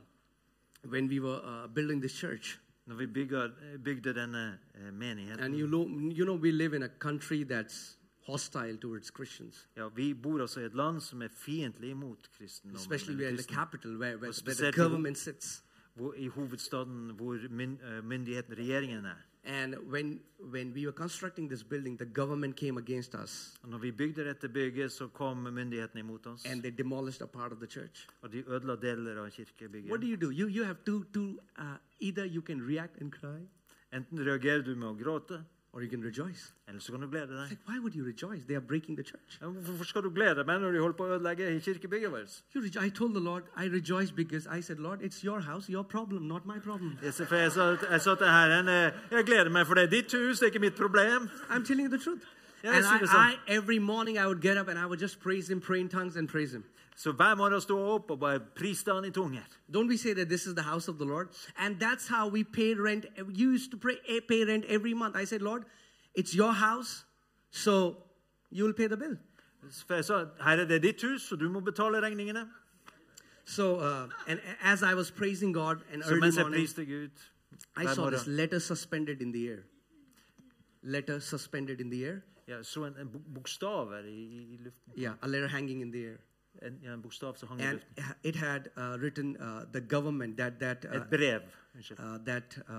Speaker 1: when we were uh, building this church,
Speaker 2: Når vi bygger, bygde denne eh, menigheten
Speaker 1: and you, lo- you know, we live in a country that's hostile towards Christians,
Speaker 2: ja, Vi bor altså i et land som er fiendtlig imot kristendommen.
Speaker 1: especially
Speaker 2: eller
Speaker 1: we're in the
Speaker 2: kristne.
Speaker 1: capital where, where, where the
Speaker 2: specifically-
Speaker 1: government sits.
Speaker 2: hvor, I hovedstaden hvor myn, eh, myndigheten, regjeringen, er.
Speaker 1: And when, when we were constructing this building, the government came against us
Speaker 2: Og når vi bygde dette bygget, så kom myndighetene imot oss.
Speaker 1: and they demolished a part of the church.
Speaker 2: Og de ødela deler av
Speaker 1: What
Speaker 2: kirkebygget.
Speaker 1: do you do? You, you have two, two uh, either you can react and cry
Speaker 2: Enten reagerer du med å gråte,
Speaker 1: or you can rejoice.
Speaker 2: eller så kan du glede
Speaker 1: It's *laughs*
Speaker 2: deg.
Speaker 1: like, why would you rejoice? They are breaking the church.
Speaker 2: Ja, Hvorfor skal du glede deg når de holder på å ødelegge kirkebygget vårt?
Speaker 1: You rejo- I told the Lord, I rejoice because I said, Lord, it's your house, your problem, not my problem.
Speaker 2: Jeg sa, for jeg sa, jeg sa til Herren eh, jeg gleder meg, for det er ditt hus, det er ikke mitt problem.
Speaker 1: I'm telling you the truth.
Speaker 2: Yeah,
Speaker 1: and
Speaker 2: I see
Speaker 1: I,
Speaker 2: the
Speaker 1: I,
Speaker 2: song.
Speaker 1: every morning I would get up and I would just praise him, pray in tongues and praise him.
Speaker 2: Så hver morgen sto jeg opp og bare priste han i tunger.
Speaker 1: Don't we say that this is the house of the Lord? And that's how we paid rent. We used to pray, eh, pay rent every month. I said, Lord, it's your house, so you'll pay the bill.
Speaker 2: For jeg sa herre, det er ditt hus, så du må betale regningene.
Speaker 1: So, uh, and a- as I was praising God and
Speaker 2: Så
Speaker 1: early
Speaker 2: mens jeg
Speaker 1: morning,
Speaker 2: priste
Speaker 1: I
Speaker 2: Gud hver
Speaker 1: saw this
Speaker 2: morgen,
Speaker 1: letter suspended in the air. Letter suspended in the air.
Speaker 2: jeg så en, en bok- bokstaver i, i- i luften.
Speaker 1: Yeah, a letter hanging in the air.
Speaker 2: En, ja, en bokstav som hang i
Speaker 1: And
Speaker 2: luften.
Speaker 1: it had uh, written uh, the government that that uh,
Speaker 2: Et brev. Unnskyld.
Speaker 1: uh, that uh,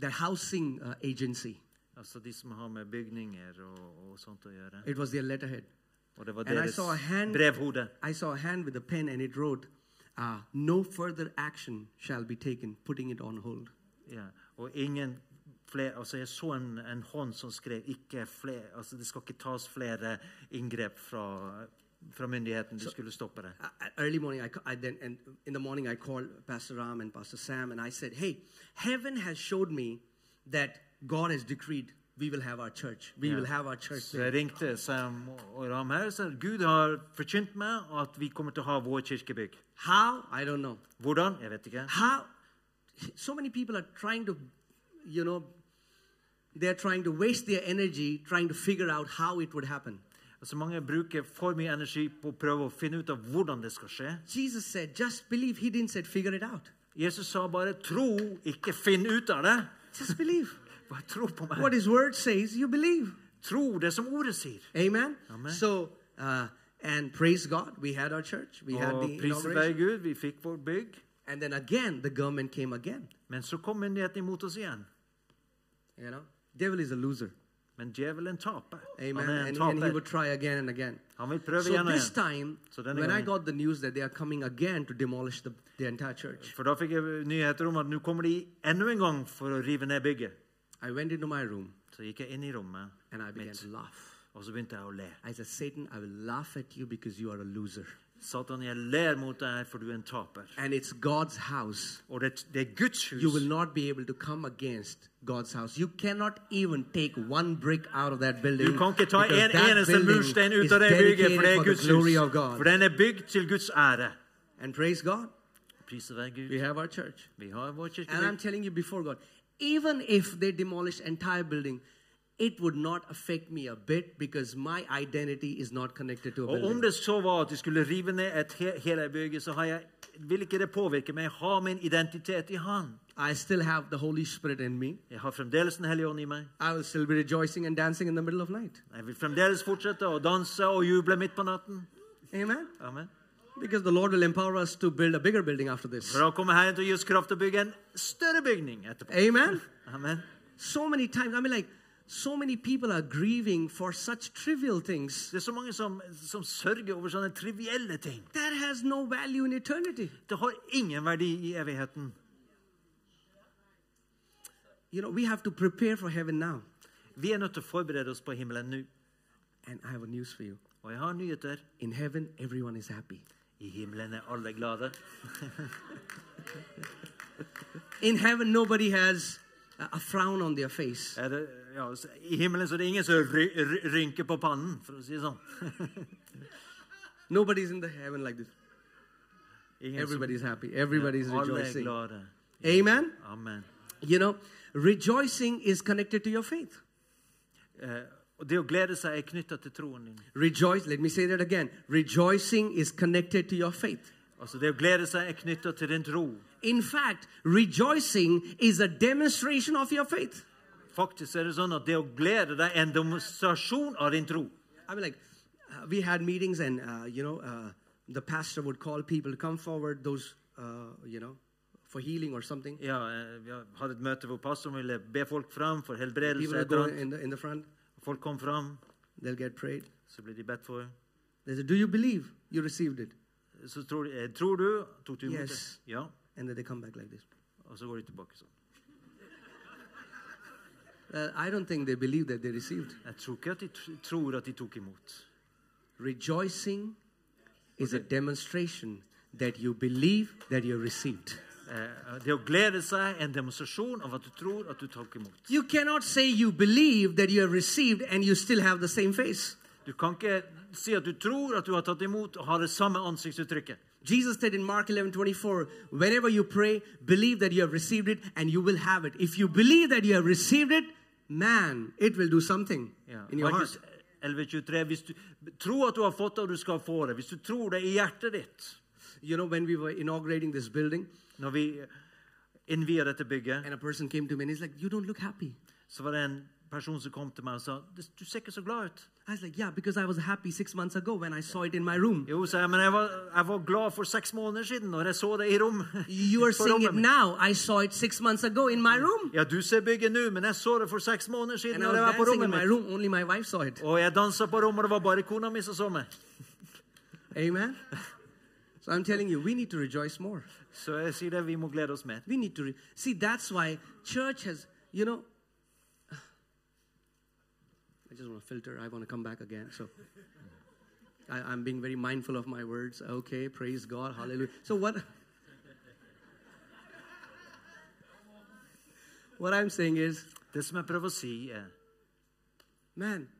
Speaker 1: that housing uh, agency.
Speaker 2: Altså de som har med bygninger og, og sånt å gjøre.
Speaker 1: It was their letterhead.
Speaker 2: Og det var
Speaker 1: And I
Speaker 2: deres
Speaker 1: saw a hand-
Speaker 2: brevhode.
Speaker 1: I saw a hand with a pen, and it wrote, uh, "No further action shall be taken," putting it on hold.
Speaker 2: Ja. Og ingen flere Altså, jeg så en, en hånd som skrev ikke flere Altså, det skal ikke tas flere inngrep fra, fra myndigheten. De skulle stoppe det.
Speaker 1: I- I- early morning, I, ca- I then and in the morning I called Pastor Ram and Pastor Sam, and I said, "Hey, heaven has showed me that God has decreed we will have our church. We will have our church."
Speaker 2: Så jeg ringte Sam og Ram her og sa Gud har forkynt meg at vi kommer til å ha vår kirkebygg.
Speaker 1: How? I don't know.
Speaker 2: Hvordan? Jeg vet ikke.
Speaker 1: how so many people are trying to you know they're trying to waste their energy trying to figure out how it would happen
Speaker 2: Så mange bruker for mye energi på å prøve å finne ut av hvordan det skal skje.
Speaker 1: jesus said just believe he didn't say figure it out
Speaker 2: Jesus sa bare 'tro, ikke finn ut av det'.
Speaker 1: just believe
Speaker 2: Bare tro på
Speaker 1: what
Speaker 2: meg.
Speaker 1: his word says you believe
Speaker 2: Tro det som ordet sier.
Speaker 1: amen, so uh, and praise god we had our church we had
Speaker 2: Og
Speaker 1: the
Speaker 2: priset være
Speaker 1: inauguration.
Speaker 2: Gud, vi fikk vår bygg.
Speaker 1: and then again the government came again
Speaker 2: Men så kom myndighetene imot oss igjen.
Speaker 1: you know devil is a loser
Speaker 2: Men djevelen taper.
Speaker 1: amen
Speaker 2: Han er en
Speaker 1: and, and he would
Speaker 2: taper.
Speaker 1: try again and again
Speaker 2: Han vil prøve
Speaker 1: so
Speaker 2: igjen og
Speaker 1: this
Speaker 2: igjen.
Speaker 1: time
Speaker 2: So then
Speaker 1: when i
Speaker 2: again.
Speaker 1: got the news that they are coming again to demolish the, the entire church
Speaker 2: For da fikk jeg nyheter om at nå kommer de enda en gang for å rive ned bygget.
Speaker 1: I went into my room
Speaker 2: Så gikk jeg inn i rommet,
Speaker 1: and I began to laugh.
Speaker 2: og så begynte jeg å le.
Speaker 1: I said, Satan, I will laugh at you because you are a loser.
Speaker 2: Satan, jeg ler mot deg, for du er en taper.
Speaker 1: and it's God's house.
Speaker 2: Og det, det er Guds
Speaker 1: You will
Speaker 2: hus.
Speaker 1: not be able to come against God's house. You cannot even take one brick out of that building.
Speaker 2: Du kan ikke ta
Speaker 1: because
Speaker 2: en
Speaker 1: that
Speaker 2: eneste
Speaker 1: building
Speaker 2: murstein ut
Speaker 1: is
Speaker 2: av det bygget, for
Speaker 1: dedicated
Speaker 2: det er
Speaker 1: for
Speaker 2: Guds
Speaker 1: the glory
Speaker 2: hus.
Speaker 1: of God.
Speaker 2: For den er bygd til Guds ære.
Speaker 1: And praise God,
Speaker 2: Priset være Gud.
Speaker 1: we have our church.
Speaker 2: Vi har vår
Speaker 1: And I'm
Speaker 2: kirke.
Speaker 1: telling you before God, even if they demolish entire building, it would not affect me a bit because my identity is not connected to a
Speaker 2: Og om
Speaker 1: building.
Speaker 2: det så var at de skulle rive ned et he hele bygget, så har jeg, vil ikke det påvirke meg. Jeg har min identitet i Han.
Speaker 1: I still have the Holy Spirit in me.
Speaker 2: Jeg har fremdeles Den hellige ånd i meg.
Speaker 1: I will still be rejoicing and dancing in the middle of night.
Speaker 2: Jeg vil fremdeles fortsette å danse og juble midt på natten.
Speaker 1: Amen.
Speaker 2: Amen.
Speaker 1: Because the Lord will empower us to build a bigger building after this.
Speaker 2: For da kommer Herren til å gi oss kraft til å bygge en større bygning etterpå.
Speaker 1: Amen.
Speaker 2: Amen.
Speaker 1: So many times, I mean, like, so many people are grieving for such trivial things
Speaker 2: Det er så mange som, som sørger over sånne trivielle ting.
Speaker 1: that has no value in eternity.
Speaker 2: Det har ingen verdi i evigheten.
Speaker 1: You know, we have to prepare for heaven now.
Speaker 2: Vi er nødt til å forberede oss på himmelen nå.
Speaker 1: And I have a news for you.
Speaker 2: Og jeg har nyheter.
Speaker 1: In heaven, everyone is happy.
Speaker 2: I himmelen er alle glade.
Speaker 1: In heaven, nobody has a- a frown on their face.
Speaker 2: Er det, ja, så- I himmelen så er det ingen som ry, ry, rynker på pannen, for å si det sånn.
Speaker 1: Nobody's in the heaven like this.
Speaker 2: Ingen som-
Speaker 1: Everybody's happy. Everybody's
Speaker 2: alle er
Speaker 1: rejoicing.
Speaker 2: glade.
Speaker 1: Amen.
Speaker 2: Amen.
Speaker 1: You know, rejoicing is connected to your faith.
Speaker 2: Eh, og det å glede seg er knyttet til troen din.
Speaker 1: Rejoice, let me say that again. Rejoicing is connected to your faith.
Speaker 2: Altså Det å glede seg er knyttet til din tro.
Speaker 1: In fact, rejoicing is a demonstration of your faith.
Speaker 2: Faktisk er det sånn at det å glede deg er en demonstrasjon av din tro.
Speaker 1: I mean, like, uh, we had meetings, and uh, you know, uh, the pastor would call people to come forward, those, uh, you know, for healing or something.
Speaker 2: Ja, eh, Vi hadde et møte hvor pastoren ville be folk fram for
Speaker 1: People
Speaker 2: helbredelse.
Speaker 1: would
Speaker 2: et
Speaker 1: go
Speaker 2: eller annet.
Speaker 1: in the, in the front,
Speaker 2: Folk kom fram,
Speaker 1: they'll get prayed.
Speaker 2: så ble de bedt for.
Speaker 1: They said, Do you believe you received it?
Speaker 2: Så tror, de, eh, tror du Tok du imot
Speaker 1: Yes.
Speaker 2: det? Ja.
Speaker 1: And then they come back like this.
Speaker 2: Og så går de tilbake sånn.
Speaker 1: Uh, I don't think they believe that they received.
Speaker 2: Jeg tror ikke at de tr tror at de tok imot.
Speaker 1: Rejoicing is a demonstration that you believe that you received.
Speaker 2: Eh, det å glede seg er en demonstrasjon av at du tror at du tok imot.
Speaker 1: You cannot say you believe that you have received and you still have the same face.
Speaker 2: Du kan ikke si at du tror at du har tatt imot og har det samme ansiktsuttrykket.
Speaker 1: Jesus said in Mark 11 24, whenever you pray, believe that you have received it and you will have it. If you believe that you have received it, man, it will do something
Speaker 2: Ja.
Speaker 1: in your heart.
Speaker 2: Markus 11,23. Hvis du tror at du har fått det, og du skal få det. Hvis du tror det i hjertet ditt
Speaker 1: You know, when we were inaugurating this building,
Speaker 2: Når vi eh, innvier dette bygget,
Speaker 1: and a person came to me and he's like, You don't look happy.
Speaker 2: så var det en person som kom til meg og sa Du ser ikke så glad ut.
Speaker 1: I was like, Yeah, because I was happy six months ago when I saw it in my room.
Speaker 2: Jo, sa jeg, men jeg var, jeg var glad for seks måneder siden når jeg så det i
Speaker 1: *laughs*
Speaker 2: rom.
Speaker 1: You are
Speaker 2: på
Speaker 1: seeing
Speaker 2: rommet
Speaker 1: it
Speaker 2: mitt.
Speaker 1: now. I saw it six months ago in my room.
Speaker 2: Ja, du ser bygget nå, men jeg så det for seks måneder siden
Speaker 1: And I
Speaker 2: når
Speaker 1: was
Speaker 2: jeg var på
Speaker 1: dancing in
Speaker 2: rommet
Speaker 1: my
Speaker 2: mitt.
Speaker 1: room, only my wife saw it.
Speaker 2: Og jeg dansa på rommet, og det var bare kona mi som så meg.
Speaker 1: Amen. *laughs* So I'm telling you, we need to rejoice more.
Speaker 2: Så jeg sier det, vi må glede oss mer.
Speaker 1: We need to re- see. That's why church has, you know. *sighs* I just want to filter. I want to come back again. So I, I'm being very mindful of my words. Okay, praise God, hallelujah. So what? *laughs* What I'm saying is,
Speaker 2: Det som jeg prøver å si, er
Speaker 1: man. *laughs*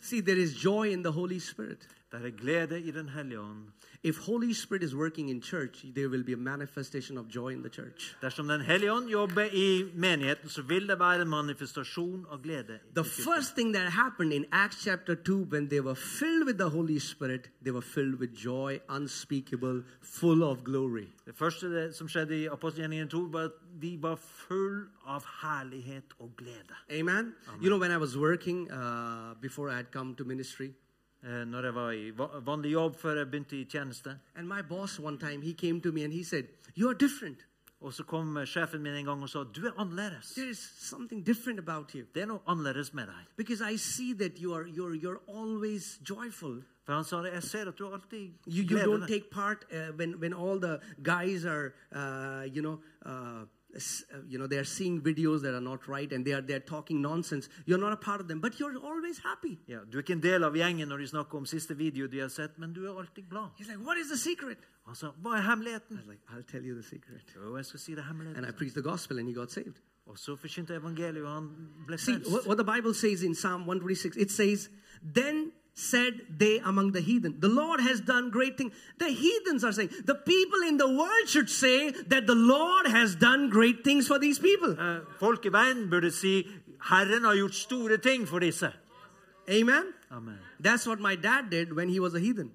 Speaker 1: See, there is joy in the Holy Spirit.
Speaker 2: det er glede i Den hellige ånd.
Speaker 1: If Holy Spirit is working in church, there will be a manifestation of joy in the church.
Speaker 2: Dersom Den hellige ånd jobber i menigheten, så vil det være en manifestasjon av glede. i
Speaker 1: The
Speaker 2: kirken.
Speaker 1: first thing that happened in Acts chapter 2 when they were filled with the Holy Spirit, they were filled with joy unspeakable, full of glory.
Speaker 2: Det første det som skjedde i apostelgjerningen 2, var at de var full av herlighet og glede.
Speaker 1: Amen. You know, when I was working uh, before I had come to ministry,
Speaker 2: Eh, Når jeg var i va- vanlig jobb før jeg begynte i tjeneste,
Speaker 1: and my boss one time he came to me and he said, "You are different."
Speaker 2: Og så kom eh, sjefen min en gang og sa du er annerledes.
Speaker 1: There is something different about you.
Speaker 2: Det er noe annerledes med deg.
Speaker 1: Because I see that you are, you're, you're always joyful.
Speaker 2: For han sa det, jeg ser at du alltid
Speaker 1: You, you
Speaker 2: gleder
Speaker 1: don't
Speaker 2: deg.
Speaker 1: take part uh, when, when all the guys are, uh, you know, uh, s- uh, you know, they are seeing videos that are not right and they are they're talking nonsense. You're not a part of them, but you're always happy.
Speaker 2: Ja, du er ikke en del av gjengen når de snakker om siste video de har sett, men du er alltid glad.
Speaker 1: He's like, what is the secret?
Speaker 2: Han sa, hva er
Speaker 1: I
Speaker 2: hemmeligheten?
Speaker 1: was like, I'll tell you the secret.
Speaker 2: Jo, jeg skal si det
Speaker 1: And I
Speaker 2: hemmeligheten.
Speaker 1: preached the gospel and he got saved.
Speaker 2: Og så forkynte jeg evangeliet, og han ble
Speaker 1: See
Speaker 2: frelst.
Speaker 1: what, what the Bible says in Psalm 126. It says, Then said they among the heathen, The Lord has done great things. The heathens are saying, The people in the world should say that the Lord has done great things for these people.
Speaker 2: Eh, Folk i verden burde si, Herren har gjort store ting for disse.
Speaker 1: Amen.
Speaker 2: Amen.
Speaker 1: That's what my dad did when he was a heathen.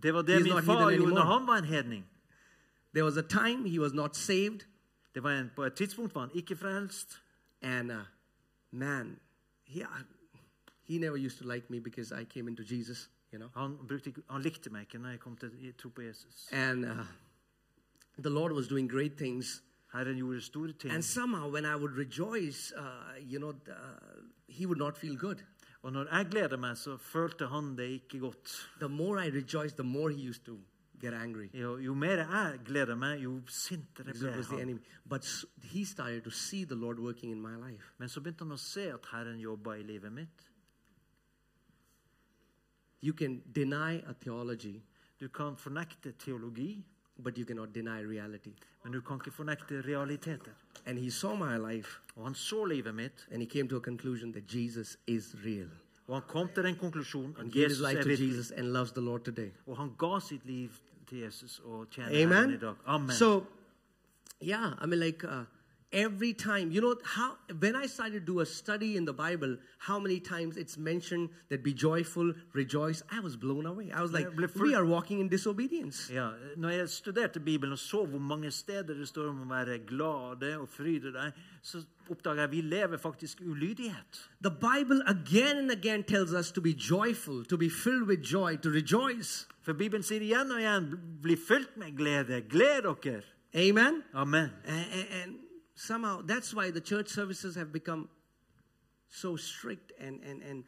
Speaker 2: Det var det
Speaker 1: He's
Speaker 2: min
Speaker 1: not
Speaker 2: far
Speaker 1: heathen
Speaker 2: gjorde når
Speaker 1: anymore.
Speaker 2: han var en hedning.
Speaker 1: There was a time he was not saved,
Speaker 2: Det var en, på et tidspunkt var han ikke frelst.
Speaker 1: and uh, man, he, I- he never used to like me because I came into Jesus, you know.
Speaker 2: Han, brukte, ikke- han likte meg ikke når jeg kom til å tro på Jesus.
Speaker 1: And uh, the Lord was doing great things.
Speaker 2: Herren gjorde store ting.
Speaker 1: And somehow, when I would rejoice, uh, you know, uh, he would not feel good.
Speaker 2: Og når jeg gleder meg, så følte han det ikke godt.
Speaker 1: The more I rejoiced, the more he used to get angry.
Speaker 2: Jo, jo mer jeg gleder meg, jo sintere
Speaker 1: Because it
Speaker 2: ble
Speaker 1: was the
Speaker 2: han.
Speaker 1: enemy. But s- he started to see the Lord working in my life.
Speaker 2: Men så begynte han å se at Herren jobba i livet mitt.
Speaker 1: You can deny a theology,
Speaker 2: Du kan fornekte teologi,
Speaker 1: but you cannot deny reality.
Speaker 2: men du kan ikke fornekte realiteter.
Speaker 1: And he saw my life
Speaker 2: Og han så livet mitt,
Speaker 1: and he came to a conclusion that Jesus is real.
Speaker 2: og han kom til den konklusjonen
Speaker 1: He
Speaker 2: at
Speaker 1: gave his
Speaker 2: Jesus
Speaker 1: life
Speaker 2: er
Speaker 1: to
Speaker 2: virkelig.
Speaker 1: Jesus and loves the Lord today.
Speaker 2: Og han ga sitt liv til Jesus og tjener Herren
Speaker 1: Amen.
Speaker 2: i dag. Amen.
Speaker 1: So, yeah, I mean, like uh, every time, you know, how when I started to do a study in the Bible, how many times it's mentioned that be joyful, rejoice. I was blown away. I was like,
Speaker 2: Yeah, but for-
Speaker 1: we are walking in disobedience.
Speaker 2: ja, når jeg studerte Bibelen og så hvor mange steder det står om å være glade og fryde deg, så oppdaga jeg at vi lever faktisk ulydighet.
Speaker 1: The Bible again and again tells us to be joyful, to be filled with joy, to rejoice.
Speaker 2: For Bibelen sier igjen og igjen 'bli fylt med glede'. Gled dere!
Speaker 1: Amen.
Speaker 2: Amen.
Speaker 1: And, and, and somehow that's why the church services have become so strict, and, and, and,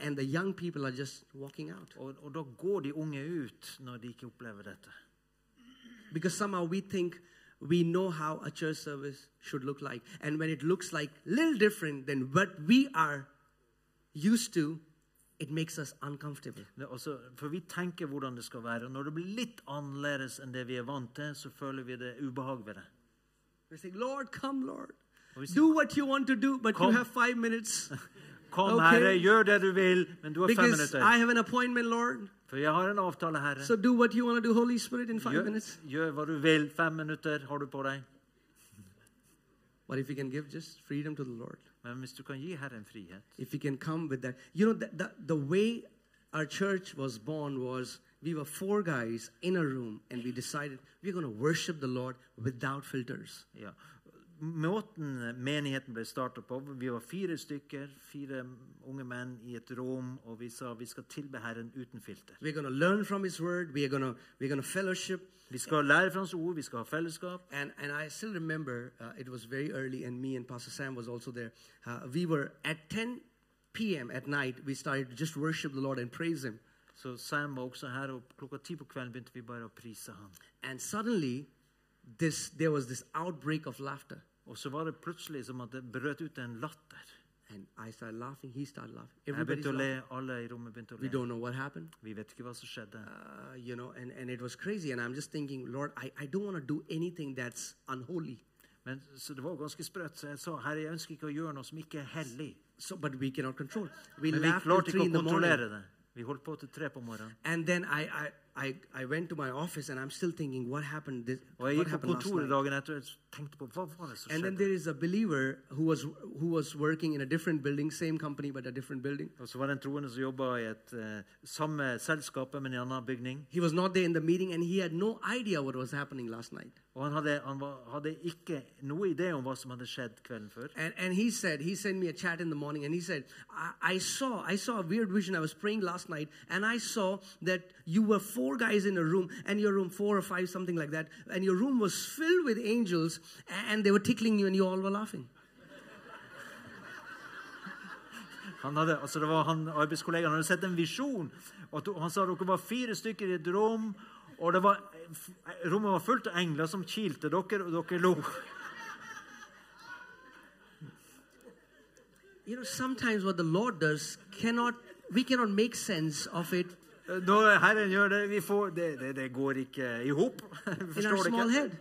Speaker 1: and the young people are just walking out.
Speaker 2: Og, og da går de unge ut når de ikke opplever dette.
Speaker 1: Because somehow we think we know how a church service should look like. And when it looks like little different than what we are used to, it makes us uncomfortable.
Speaker 2: Det, er også, for vi tenker hvordan det skal være. og Når det blir litt annerledes enn det vi er vant til, så føler vi det ubehag ved det.
Speaker 1: We say, Lord, come, Lord.
Speaker 2: we say-
Speaker 1: Do what you want to do, but
Speaker 2: Come.
Speaker 1: you have five
Speaker 2: *laughs*
Speaker 1: minutes.
Speaker 2: Kom,
Speaker 1: Ok.
Speaker 2: Herre, gjør det du vil, men du har
Speaker 1: *laughs*
Speaker 2: fem
Speaker 1: Because
Speaker 2: minutter.
Speaker 1: I have an appointment, Lord.
Speaker 2: For jeg har en avtale, Herre.
Speaker 1: So do what you want to do, Holy Spirit, in five
Speaker 2: gjør,
Speaker 1: minutes.
Speaker 2: gjør hva du vil. Fem minutter har du på deg.
Speaker 1: But if we can give just freedom to the Lord,
Speaker 2: Men hvis du kan gi Herren frihet
Speaker 1: if we can come with that. You know, the, the, the way our church was born was we were four guys in a room and we decided we're going to worship the Lord without filters.
Speaker 2: ja. Måten menigheten ble starta på Vi var fire stykker, fire unge menn i et rom, og vi sa vi skal tilbe Herren uten filter.
Speaker 1: We're going to learn from His Word, we're going to, we're going to fellowship.
Speaker 2: Vi skal lære fra Hans ord, vi skal ha fellesskap.
Speaker 1: And, and I still remember uh, it was very early, and me and Pastor Sam was also there. Uh, we were at 10 p.m. at night, we started to just worship the Lord and praise Him.
Speaker 2: Så Sam var også her, og klokka ti på kvelden begynte vi bare å prise han.
Speaker 1: And suddenly, this, there was this outbreak of laughter.
Speaker 2: Og så var det plutselig som at det brøt ut en latter.
Speaker 1: And I started laughing, he started laughing.
Speaker 2: Jeg
Speaker 1: Everybody's
Speaker 2: begynte å
Speaker 1: laughing.
Speaker 2: le, alle i rommet begynte å
Speaker 1: We
Speaker 2: le.
Speaker 1: don't know what happened.
Speaker 2: Vi vet ikke hva som skjedde.
Speaker 1: Uh, you know, and, and it was crazy. And I'm just thinking, Lord, I, I don't want to do anything that's unholy.
Speaker 2: Men, så det var ganske sprøtt. Så jeg sa herre, jeg ønsker ikke å gjøre noe som ikke er hellig.
Speaker 1: So, but we cannot control. We
Speaker 2: Men vi
Speaker 1: laughed till
Speaker 2: klarte
Speaker 1: three
Speaker 2: ikke
Speaker 1: in
Speaker 2: å
Speaker 1: the morning.
Speaker 2: kontrollere det. Vi holdt på til tre på morgenen.
Speaker 1: And then I, I, I, I went to my office and I'm still thinking, what happened? This,
Speaker 2: Og jeg
Speaker 1: what
Speaker 2: gikk på
Speaker 1: happened last
Speaker 2: kontoret
Speaker 1: night?
Speaker 2: dagen etter og tenkte på hva var det som
Speaker 1: And then
Speaker 2: skjedde.
Speaker 1: there is a believer who was, who was working in a different building, same company, but a different building.
Speaker 2: Og så var det en troende som jobba i et eh, samme selskapet, men i en annen bygning.
Speaker 1: He was not there in the meeting and he had no idea what was happening last night.
Speaker 2: Og han hadde, han var, hadde ikke noe idé om hva som hadde skjedd kvelden før.
Speaker 1: And, and he said, he sent me a chat in the morning and he said, I, I saw, I saw a weird vision. I was praying last night and I saw that you were four four guys in a room, and your room, four or five, something like that, and your room was filled with angels, and they were tickling you, and you all were laughing.
Speaker 2: Han hadde, altså det var han, arbeidskollegaen han hadde sett en visjon. Og to- han sa dere var fire stykker i et rom, og det var, f- rommet var fullt av engler som kilte dere, og dere lo.
Speaker 1: You know, sometimes what the Lord does cannot, we cannot make sense of it
Speaker 2: Når Eh, Herren gjør det, vi får, det, det, det går ikke i hop. *laughs* Vi
Speaker 1: in our
Speaker 2: forstår det
Speaker 1: small
Speaker 2: ikke.
Speaker 1: head.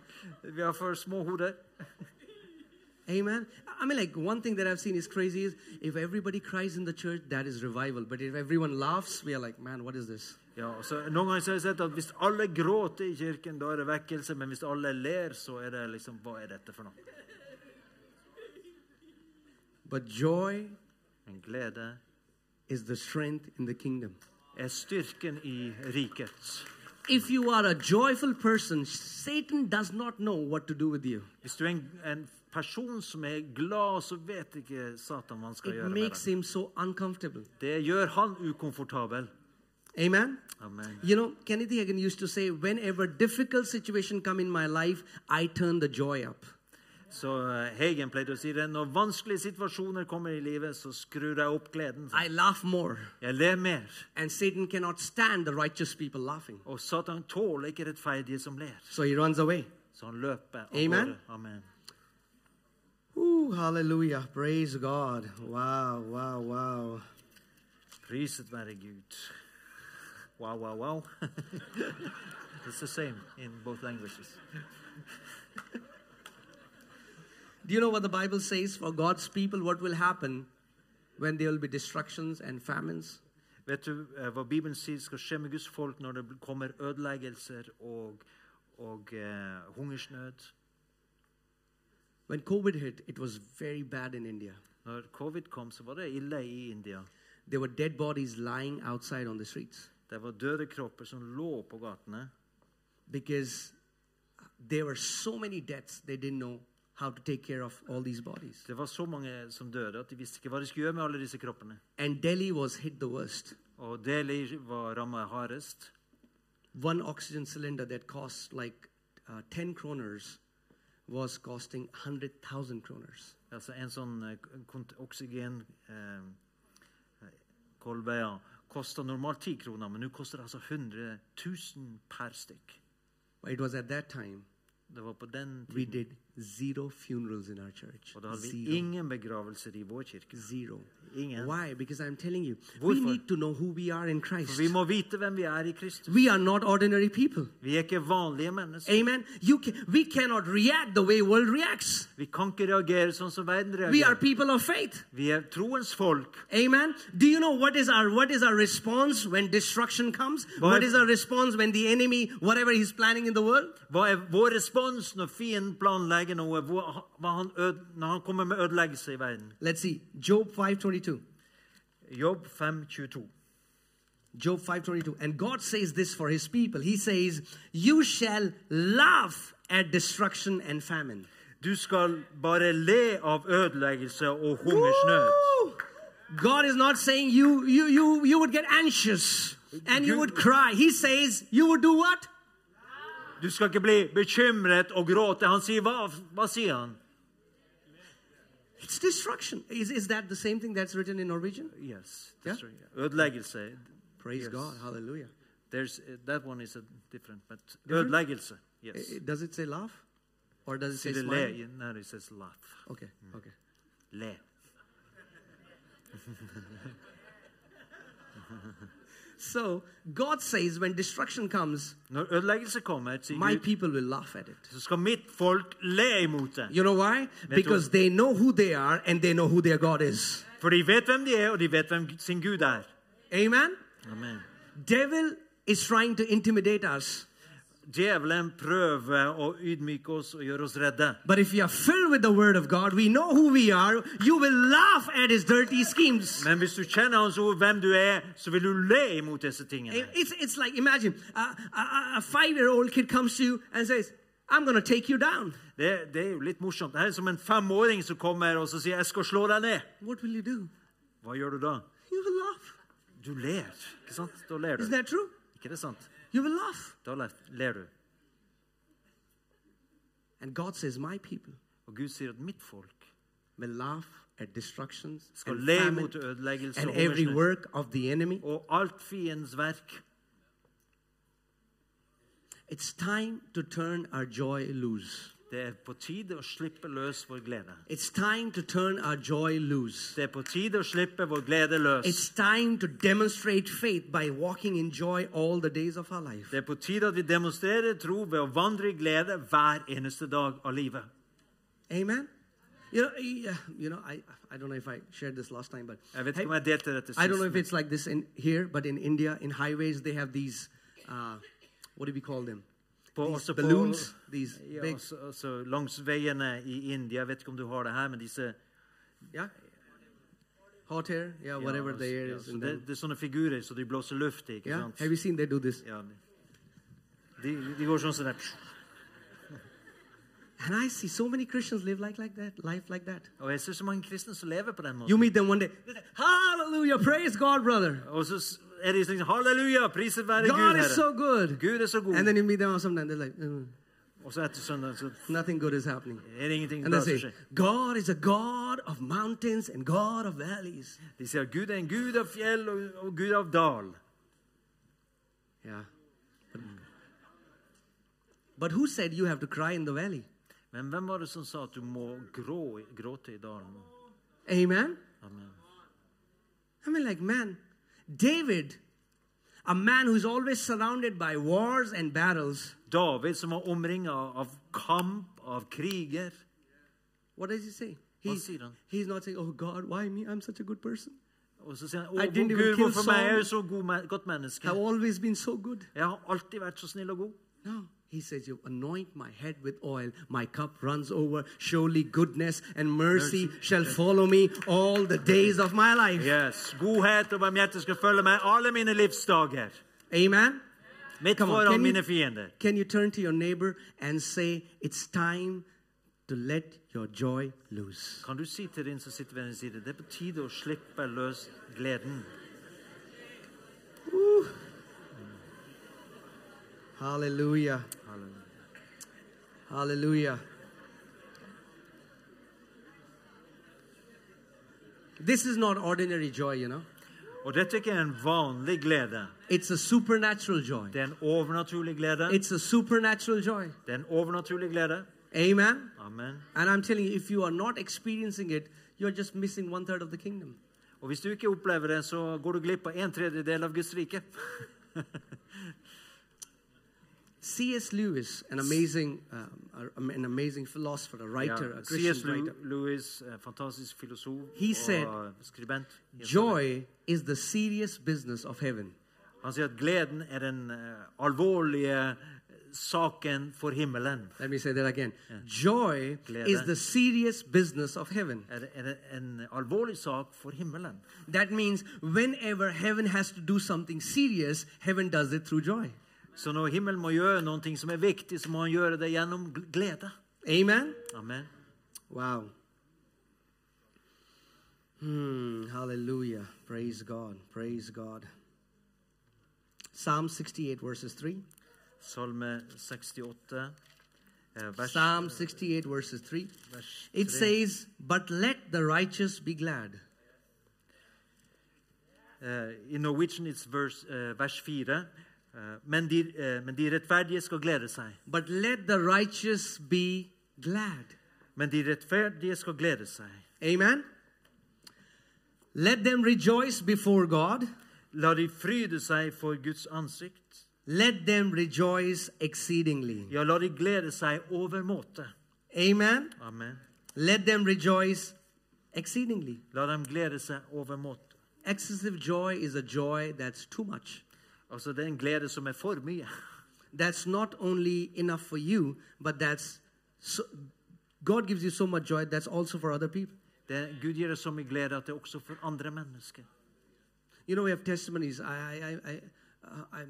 Speaker 2: Vi har for små hoder.
Speaker 1: Amen. I mean, like one thing that I've seen is crazy is if everybody cries in the church, that is revival. But if everyone laughs, we are like, man, what is this?
Speaker 2: Ja, og så Noen ganger så har jeg sett at hvis alle gråter i kirken, da er det vekkelse. Men hvis alle ler, så er det liksom Hva er dette for noe?
Speaker 1: But joy
Speaker 2: Men glede
Speaker 1: is the strength in the kingdom.
Speaker 2: er styrken i riket.
Speaker 1: If you are a joyful person, Satan does not know what to do with you.
Speaker 2: Hvis du er en, en person som er glad, så vet ikke Satan hva han skal
Speaker 1: It
Speaker 2: gjøre med
Speaker 1: makes
Speaker 2: deg.
Speaker 1: him so uncomfortable.
Speaker 2: Det gjør han ukomfortabel.
Speaker 1: Amen.
Speaker 2: Amen.
Speaker 1: You know, Kenneth Hagin used to say, whenever difficult situation come in my life, I turn the joy up.
Speaker 2: Så eh, Hegen pleide å si det. Når vanskelige situasjoner kommer i livet, så skrur jeg opp gleden.
Speaker 1: I laugh more.
Speaker 2: Jeg ler mer.
Speaker 1: And Satan cannot stand the righteous people laughing.
Speaker 2: Og Satan tåler ikke rettferdige som ler.
Speaker 1: So he runs away.
Speaker 2: Så han løper. av
Speaker 1: Amen.
Speaker 2: gårde. Amen.
Speaker 1: Ooh, hallelujah. Praise God. Wow, wow, wow.
Speaker 2: Priset være Gud. Wow, wow, wow. *laughs* It's the same in both languages.
Speaker 1: Do you know what the Bible says for God's people? What will happen when there will be destructions and famines?
Speaker 2: Vet du eh, hva Bibelen sier skal skje med Guds folk når det bl- kommer ødeleggelser og, og eh, hungersnød?
Speaker 1: When COVID hit, it was very bad in India.
Speaker 2: Når covid kom, så var det ille i India.
Speaker 1: There were dead bodies lying outside on the streets
Speaker 2: Det var døde kropper som lå på gatene.
Speaker 1: because there were so many deaths, they didn't know how to take care of all these bodies.
Speaker 2: Det var så mange som døde at de visste ikke hva de skulle gjøre med alle disse kroppene.
Speaker 1: And Delhi was hit the worst.
Speaker 2: Og Delhi var rammet hardest.
Speaker 1: One oxygen cylinder that cost like uh, 10 kroners was costing 100,000 kroners.
Speaker 2: Altså en sånn eh, kont- oksygen eh, kolbe ja, koster normalt 10 kroner, men nå koster det altså 100 000 per stykk.
Speaker 1: But It was at that time
Speaker 2: Det var på den tiden.
Speaker 1: we did zero funerals in our church.
Speaker 2: Og da hadde vi
Speaker 1: Zero.
Speaker 2: ingen begravelser i vår kirke.
Speaker 1: Zero.
Speaker 2: Ingen.
Speaker 1: Why? Because I'm telling you, we
Speaker 2: Hvorfor?
Speaker 1: need to know who we are in Christ.
Speaker 2: For vi må vite hvem vi er i Kristus.
Speaker 1: We are not ordinary people.
Speaker 2: Vi er ikke vanlige mennesker.
Speaker 1: Amen. You can, we cannot react the way world reacts.
Speaker 2: Vi kan ikke reagere sånn som verden
Speaker 1: We are
Speaker 2: reagerer.
Speaker 1: people of faith.
Speaker 2: Vi er troens folk.
Speaker 1: Amen. Do you know what is our what is our response when destruction comes?
Speaker 2: Boy.
Speaker 1: What is our response when the enemy, whatever he's planning in the world?
Speaker 2: Hva er vår respons når fienden planlegger noe, Hvor- hva han øde, når han kommer med ødeleggelse i verden?
Speaker 1: Let's see. Job 522.
Speaker 2: Jobb 5.22.
Speaker 1: Job 5:22 and God says this for his people he says you shall laugh at destruction and famine
Speaker 2: Du skal bare le av ødeleggelse og hungersnød.
Speaker 1: Woo! God is not saying you you you you would get anxious and you would cry he says you would do what
Speaker 2: Du skal ikke bli bekymret og gråte. Han sier hva? Hva sier han?
Speaker 1: it's destruction is is that the same thing that's written in Norwegian
Speaker 2: Yes. that's right. Ødeleggelse.
Speaker 1: praise
Speaker 2: Yes.
Speaker 1: God hallelujah
Speaker 2: There's, that one is a different, but ødeleggelse. Yes.
Speaker 1: I- does it say laugh or does it say
Speaker 2: Sier det
Speaker 1: smile
Speaker 2: le? No, it says laugh.
Speaker 1: okay okay
Speaker 2: Le.
Speaker 1: so God says when destruction comes
Speaker 2: Når ødeleggelse kommer, sier
Speaker 1: my
Speaker 2: Gud,
Speaker 1: people will laugh at it
Speaker 2: så skal mitt folk le imot det.
Speaker 1: You know why?
Speaker 2: Mentor.
Speaker 1: Because they know who they are and they know who their God is.
Speaker 2: For de vet hvem de er, og de vet hvem sin Gud er.
Speaker 1: Amen.
Speaker 2: Amen.
Speaker 1: Devil is trying to intimidate us,
Speaker 2: Djevelen prøver å ydmyke oss og gjøre oss redde.
Speaker 1: but if we are filled with the word of God, we know who we are. You will laugh at his dirty schemes.
Speaker 2: Men hvis du kjenner hans ord, hvem du er, så vil du le imot disse
Speaker 1: It-
Speaker 2: tingene.
Speaker 1: It's, it's like imagine a, a- a, a five-year-old kid comes to you and says, "I'm going to take you down."
Speaker 2: Det, det er jo litt morsomt. Det er som en femåring som kommer og så sier 'jeg skal slå deg ned'.
Speaker 1: What will you do?
Speaker 2: Hva gjør du da?
Speaker 1: You will laugh.
Speaker 2: Du ler. Ikke sant? Da ler
Speaker 1: Isn't
Speaker 2: du.
Speaker 1: that true?
Speaker 2: Ikke det sant?
Speaker 1: You You will laugh.
Speaker 2: Da ler, ler du.
Speaker 1: And God says, My people
Speaker 2: Og Gud sier at mitt folk
Speaker 1: will laugh at destructions
Speaker 2: skal
Speaker 1: and
Speaker 2: le
Speaker 1: famine
Speaker 2: mot ødeleggelse
Speaker 1: and
Speaker 2: og
Speaker 1: every
Speaker 2: hungersnød.
Speaker 1: work of the enemy.
Speaker 2: Og alt fiendens verk.
Speaker 1: It's time to turn our joy loose.
Speaker 2: Det er på tide å slippe løs vår glede.
Speaker 1: It's time to turn our joy loose.
Speaker 2: Det er på tide å slippe vår glede løs.
Speaker 1: It's time to demonstrate faith by walking in joy all the days of our life.
Speaker 2: Det er på tide at vi demonstrerer tro ved å vandre i glede hver eneste dag av livet.
Speaker 1: Amen. You know, yeah, you know, I I don't know if I shared this last time, but
Speaker 2: Jeg vet
Speaker 1: Hey,
Speaker 2: ikke om jeg delte dette
Speaker 1: I don't know
Speaker 2: sist.
Speaker 1: if it's like this in here, but in India, in highways, they have these, uh, what do we call them?
Speaker 2: På,
Speaker 1: These
Speaker 2: også på,
Speaker 1: balloons, these
Speaker 2: ja,
Speaker 1: big,
Speaker 2: også, også altså, langs veiene i India. Jeg vet ikke om du har det her, men disse
Speaker 1: yeah, hot air, yeah,
Speaker 2: ja, altså,
Speaker 1: whatever the air
Speaker 2: ja,
Speaker 1: is.
Speaker 2: så
Speaker 1: and
Speaker 2: det,
Speaker 1: then-
Speaker 2: det er sånne figurer så de blåser luft i. ikke
Speaker 1: yeah,
Speaker 2: sant?
Speaker 1: have you seen they do this?
Speaker 2: Ja. De, de går sånn som det.
Speaker 1: And I see so many Christians live like like that, life like that.
Speaker 2: Og jeg ser så mange kristne som lever på den måten.
Speaker 1: You meet them one day, they say, Hallelujah, praise God, brother.
Speaker 2: Og så s- er de liksom Halleluja! Priset være Gud,
Speaker 1: God is so
Speaker 2: Herre.
Speaker 1: good.
Speaker 2: Gud er så god.
Speaker 1: And then you meet them on sometime, they're like, "Mm,
Speaker 2: Og så etter søndagen så
Speaker 1: nothing good is happening.
Speaker 2: er det ingenting
Speaker 1: And
Speaker 2: bra
Speaker 1: they say,
Speaker 2: som skjer.
Speaker 1: God is a God of mountains and God of valleys.
Speaker 2: De sier Gud er en gud av fjell og, og gud av dal.
Speaker 1: Yeah. But, but who said you have to cry in the valley?
Speaker 2: Men hvem var det som sa at du må grå, gråte i dalen?
Speaker 1: Amen?
Speaker 2: Amen.
Speaker 1: I mean, like, man, David, a man who's always surrounded by wars and battles,
Speaker 2: David som var omringa av kamp, av kriger.
Speaker 1: what does he say?
Speaker 2: What
Speaker 1: He's,
Speaker 2: does he do?
Speaker 1: he's not saying, oh God, why me? I'm such a good person.
Speaker 2: Og så sier han
Speaker 1: I
Speaker 2: Å,
Speaker 1: didn't even
Speaker 2: Gud,
Speaker 1: kill
Speaker 2: hvorfor meg? Jeg er jo så
Speaker 1: Saul.
Speaker 2: god, men- godt menneske.
Speaker 1: I've always been so good.
Speaker 2: Jeg har alltid vært så snill og god.
Speaker 1: No. He says, You anoint my head with oil, my cup runs over. Surely goodness and mercy shall follow me all the days of my life.
Speaker 2: Yes, Godhet og barmhjertighet skal følge meg alle mine livsdager.
Speaker 1: Amen.
Speaker 2: Midt
Speaker 1: Come on,
Speaker 2: foran
Speaker 1: can you-
Speaker 2: mine fiender.
Speaker 1: Can you turn to your neighbor and say, It's time to let your joy loose?
Speaker 2: Kan du si til din som sitter ved din side, det er på tide å slippe løs gleden.
Speaker 1: Hallelujah. Hallelujah. This is not ordinary joy, you know.
Speaker 2: Og dette er ikke en vanlig glede.
Speaker 1: It's a supernatural joy.
Speaker 2: Det er en overnaturlig glede.
Speaker 1: It's a supernatural joy.
Speaker 2: Det er en overnaturlig glede.
Speaker 1: Amen.
Speaker 2: Amen.
Speaker 1: And I'm telling you, if you are not experiencing it, you're just missing one third of the kingdom.
Speaker 2: Og hvis du ikke opplever det, så går du glipp av en tredjedel av Guds rike.
Speaker 1: C.S. Lewis, an amazing, um, a- an amazing philosopher, a writer, a
Speaker 2: C.S.
Speaker 1: Christian writer,
Speaker 2: Lewis, eh, fantastisk filosof
Speaker 1: He
Speaker 2: og
Speaker 1: said,
Speaker 2: eh, skribent.
Speaker 1: joy is the serious business of heaven.
Speaker 2: Han sier at gleden er den eh, alvorlige eh, saken for himmelen.
Speaker 1: Let me say that again. Joy
Speaker 2: Glad
Speaker 1: is
Speaker 2: that-
Speaker 1: the serious business of heaven.
Speaker 2: Er, er en alvorlig sak for himmelen.
Speaker 1: That means whenever heaven has to do something serious, heaven does it through joy.
Speaker 2: Så når himmelen må gjøre noe som er viktig, så må han gjøre det gjennom gl- glede.
Speaker 1: Amen.
Speaker 2: Amen.
Speaker 1: Wow. Hmm, hallelujah. Praise God. Praise God. Psalm 68, verses 3.
Speaker 2: Salme 68, eh, vers,
Speaker 1: Psalm 68, verses 3.
Speaker 2: vers
Speaker 1: It
Speaker 2: 3.
Speaker 1: says, But let the righteous be glad.
Speaker 2: Eh, I Norwegian it's verse, eh, vers 4. eh, men, de, eh, men de rettferdige skal glede seg.
Speaker 1: But let the righteous be glad.
Speaker 2: Men de rettferdige skal glede seg.
Speaker 1: Amen. Let them rejoice before God.
Speaker 2: La de fryde seg for Guds ansikt.
Speaker 1: Let them rejoice exceedingly.
Speaker 2: Ja, la de glede seg overmåte.
Speaker 1: Amen.
Speaker 2: Amen.
Speaker 1: Let them rejoice exceedingly.
Speaker 2: La dem glede seg overmåte.
Speaker 1: Excessive joy is a joy that's too much.
Speaker 2: Altså, det er en glede som er for mye.
Speaker 1: That's not only enough for you, but that's so, God gives you so much joy that's also for other people.
Speaker 2: Det, Gud gir oss så mye glede at det er også for andre mennesker.
Speaker 1: You know, we have testimonies. I, I, I, I, uh,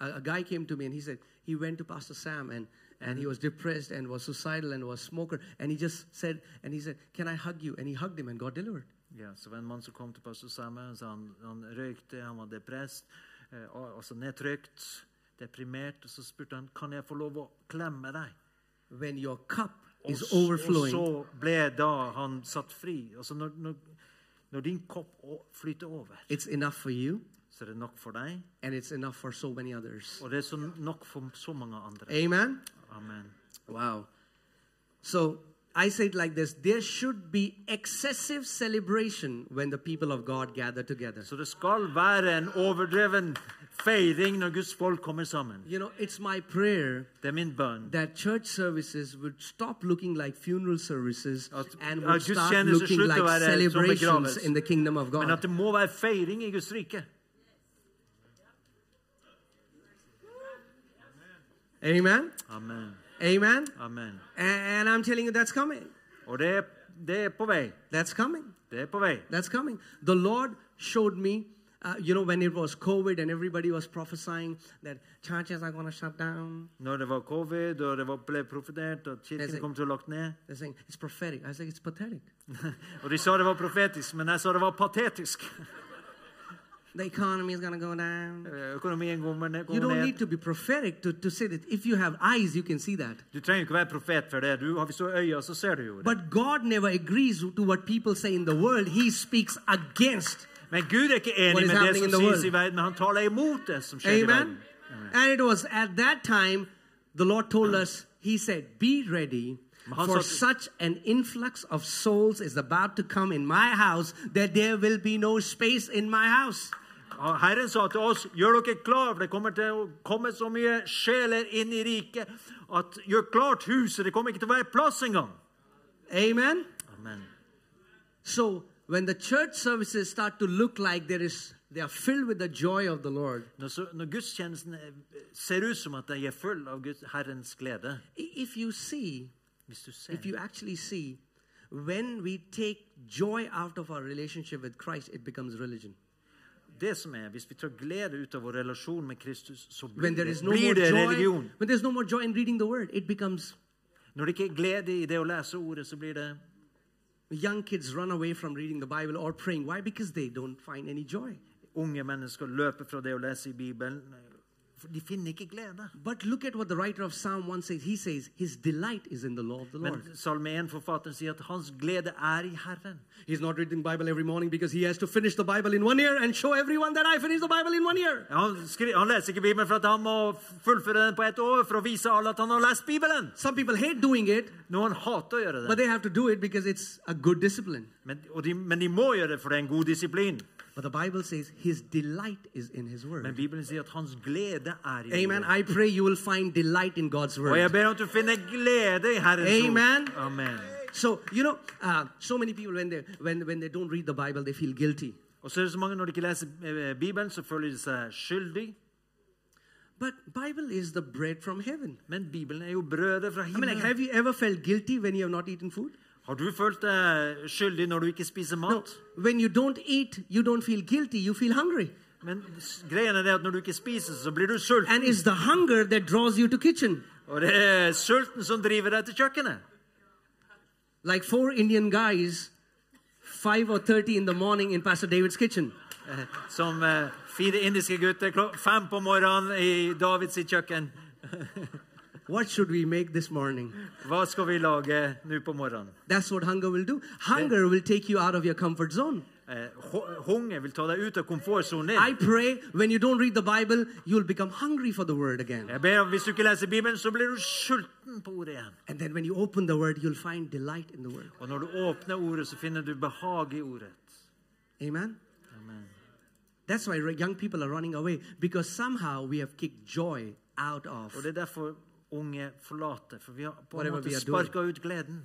Speaker 1: I, a guy came to me and he said he went to Pastor Sam and, and he was depressed and was suicidal and was smoker and he just said and he said, "Can I hug you?" And he hugged him and got delivered.
Speaker 2: Ja, så var det en mann som kom til pastor Samme, så han, han røykte, han var depressed, eh, al- altså nedtrykt, deprimert, og så spurte han kan jeg få lov å klemme deg.
Speaker 1: When your cup
Speaker 2: Og,
Speaker 1: is
Speaker 2: s- og
Speaker 1: overflowing,
Speaker 2: så ble da han satt fri. Altså når, når, når din kopp å- flyter over,
Speaker 1: it's enough for you
Speaker 2: så er det nok for deg,
Speaker 1: and it's enough for so many others.
Speaker 2: og det er så nok for så mange andre.
Speaker 1: Amen?
Speaker 2: Amen.
Speaker 1: Wow. So I say it like this there should be excessive celebration when the people of God gather together.
Speaker 2: Så det skal være en overdreven feiring når Guds folk kommer sammen.
Speaker 1: You know, it's my prayer
Speaker 2: Det er min bønn.
Speaker 1: that church services would stop looking like funeral services
Speaker 2: At-
Speaker 1: and
Speaker 2: at
Speaker 1: would start
Speaker 2: gudstjenester
Speaker 1: looking
Speaker 2: slutter å
Speaker 1: like
Speaker 2: være som
Speaker 1: celebrations
Speaker 2: begravelse.
Speaker 1: in the kingdom of
Speaker 2: Men at
Speaker 1: God.
Speaker 2: det må være feiring i Guds rike.
Speaker 1: Amen?
Speaker 2: Amen.
Speaker 1: Amen?
Speaker 2: Amen.
Speaker 1: And I'm telling you, that's coming.
Speaker 2: Og det er, det er på vei.
Speaker 1: That's coming.
Speaker 2: Det er på vei.
Speaker 1: That's coming. The Lord showed me, uh, you know, when it was COVID and everybody was prophesying that churches are going to shut down.
Speaker 2: Når det var covid, og det var, ble profetert, og
Speaker 1: Det er
Speaker 2: kirken
Speaker 1: så-
Speaker 2: kom til å lagt ned. *laughs*
Speaker 1: They're saying it's prophetic. I was like, it's pathetic.
Speaker 2: Og de sa det var profetisk, men jeg sa det var patetisk.
Speaker 1: The economy is going to go down.
Speaker 2: Eh, Økonomien kommer ned.
Speaker 1: You
Speaker 2: Kommer
Speaker 1: don't need
Speaker 2: ned.
Speaker 1: to be prophetic to, to say that. If you have eyes, you can see that.
Speaker 2: Du trenger jo ikke være profet for det. Du, har- hvis du har øyne, så ser du jo det.
Speaker 1: But God never agrees to what people say in the world. He speaks against.
Speaker 2: Men Gud er ikke
Speaker 1: What
Speaker 2: enig
Speaker 1: is
Speaker 2: med det
Speaker 1: happening
Speaker 2: som
Speaker 1: in the
Speaker 2: sies i
Speaker 1: world?
Speaker 2: verden, men han taler imot det som skjer i verden.
Speaker 1: Amen. And it was at that time the Lord told us, He said, Be ready.
Speaker 2: Men han
Speaker 1: For
Speaker 2: sa
Speaker 1: such an influx of souls is about to come in my house that there will be no space in my house.
Speaker 2: Og Herren sa til oss, gjør dere klar, for det kommer til å komme så mye sjeler inn i riket, at gjør klart huset, det kommer ikke til å være plass engang.
Speaker 1: Amen.
Speaker 2: Amen.
Speaker 1: So when the church services start to look like there is they are filled with the joy of the Lord.
Speaker 2: Når, så, når gudstjenesten eh, ser ut som at de er full av Guds, Herrens glede,
Speaker 1: I- If you see,
Speaker 2: hvis du ser,
Speaker 1: if you actually see, when we take joy out of our relationship with Christ, it becomes religion.
Speaker 2: det som er, hvis vi tar glede ut av vår relasjon med Kristus, så blir,
Speaker 1: When there
Speaker 2: det,
Speaker 1: is no more
Speaker 2: blir det
Speaker 1: joy,
Speaker 2: religion.
Speaker 1: when there's no more joy in reading the word, it becomes
Speaker 2: Når det ikke er glede i det å lese ordet, så blir det...
Speaker 1: young kids run away from reading the Bible or praying. Why? Because they don't find any joy.
Speaker 2: Unge mennesker løper fra det å lese i Bibelen, for de finner ikke glede.
Speaker 1: But look at what the writer of Psalm 1 says. He says, His delight is in the law of the
Speaker 2: Men
Speaker 1: Lord.
Speaker 2: salme 1-forfatteren sier at hans glede er i Herren.
Speaker 1: He's not reading Bible every morning because he has to finish the Bible in one year and show everyone that I finished the Bible in one year.
Speaker 2: Han, skri, han leser ikke Bibelen for at han må fullføre den på ett år for å vise alle at han har lest Bibelen.
Speaker 1: Some people hate doing it,
Speaker 2: Noen hater å gjøre
Speaker 1: but
Speaker 2: det,
Speaker 1: they have to do it because it's a good discipline.
Speaker 2: men, og de, men de må gjøre det, for det er en god disiplin.
Speaker 1: But the Bible says his delight is in his
Speaker 2: Men
Speaker 1: word.
Speaker 2: Bibelen sier at hans glede er i
Speaker 1: Amen.
Speaker 2: ordet.
Speaker 1: I pray you will find delight in God's
Speaker 2: Og jeg
Speaker 1: word.
Speaker 2: ber om at du finner glede i Herrens
Speaker 1: Amen.
Speaker 2: ord. Amen.
Speaker 1: So, you know, uh, so many people, when they, when, when they don't read the Bible, they feel guilty.
Speaker 2: Og så er det så mange når de ikke leser eh, Bibelen, så føler de seg skyldig.
Speaker 1: But Bible is the bread from heaven.
Speaker 2: Men Bibelen er jo brødet fra
Speaker 1: I mean, like,
Speaker 2: himmelen.
Speaker 1: have you ever felt guilty when you have not eaten food?
Speaker 2: Har du følt deg skyldig når du ikke spiser
Speaker 1: No.
Speaker 2: mat?
Speaker 1: When you don't eat, you don't feel guilty, you feel hungry.
Speaker 2: Men s- greien er det at når du ikke spiser, så blir du sulten.
Speaker 1: And it's the hunger that draws you to kitchen.
Speaker 2: Og det er sulten som driver deg til kjøkkenet.
Speaker 1: Like four Indian guys, 5 or 30 in the morning in Pastor David's kitchen.
Speaker 2: Eh, Som eh, fire indiske gutter klok fem på morgenen i Davids sitt kjøkken.
Speaker 1: What should we make this morning?
Speaker 2: Hva skal vi lage nå på morgenen?
Speaker 1: That's what hunger will do. Hunger will take you out of your comfort zone.
Speaker 2: Eh, hu- Hunger vil ta deg ut av komfortsonen
Speaker 1: I
Speaker 2: din.
Speaker 1: pray when you don't read the Bible, you'll become hungry for the word again.
Speaker 2: Jeg ber om Hvis du ikke leser Bibelen, så blir du sulten på ordet igjen.
Speaker 1: And then when you open the word, you'll find delight in the word.
Speaker 2: Og når du åpner ordet, så finner du behag i ordet.
Speaker 1: Amen?
Speaker 2: Amen.
Speaker 1: That's why young people are running away because somehow we have kicked joy out of.
Speaker 2: Og det er derfor unge forlater. For vi har på en
Speaker 1: Whatever
Speaker 2: måte
Speaker 1: we are doing.
Speaker 2: sparka ut gleden.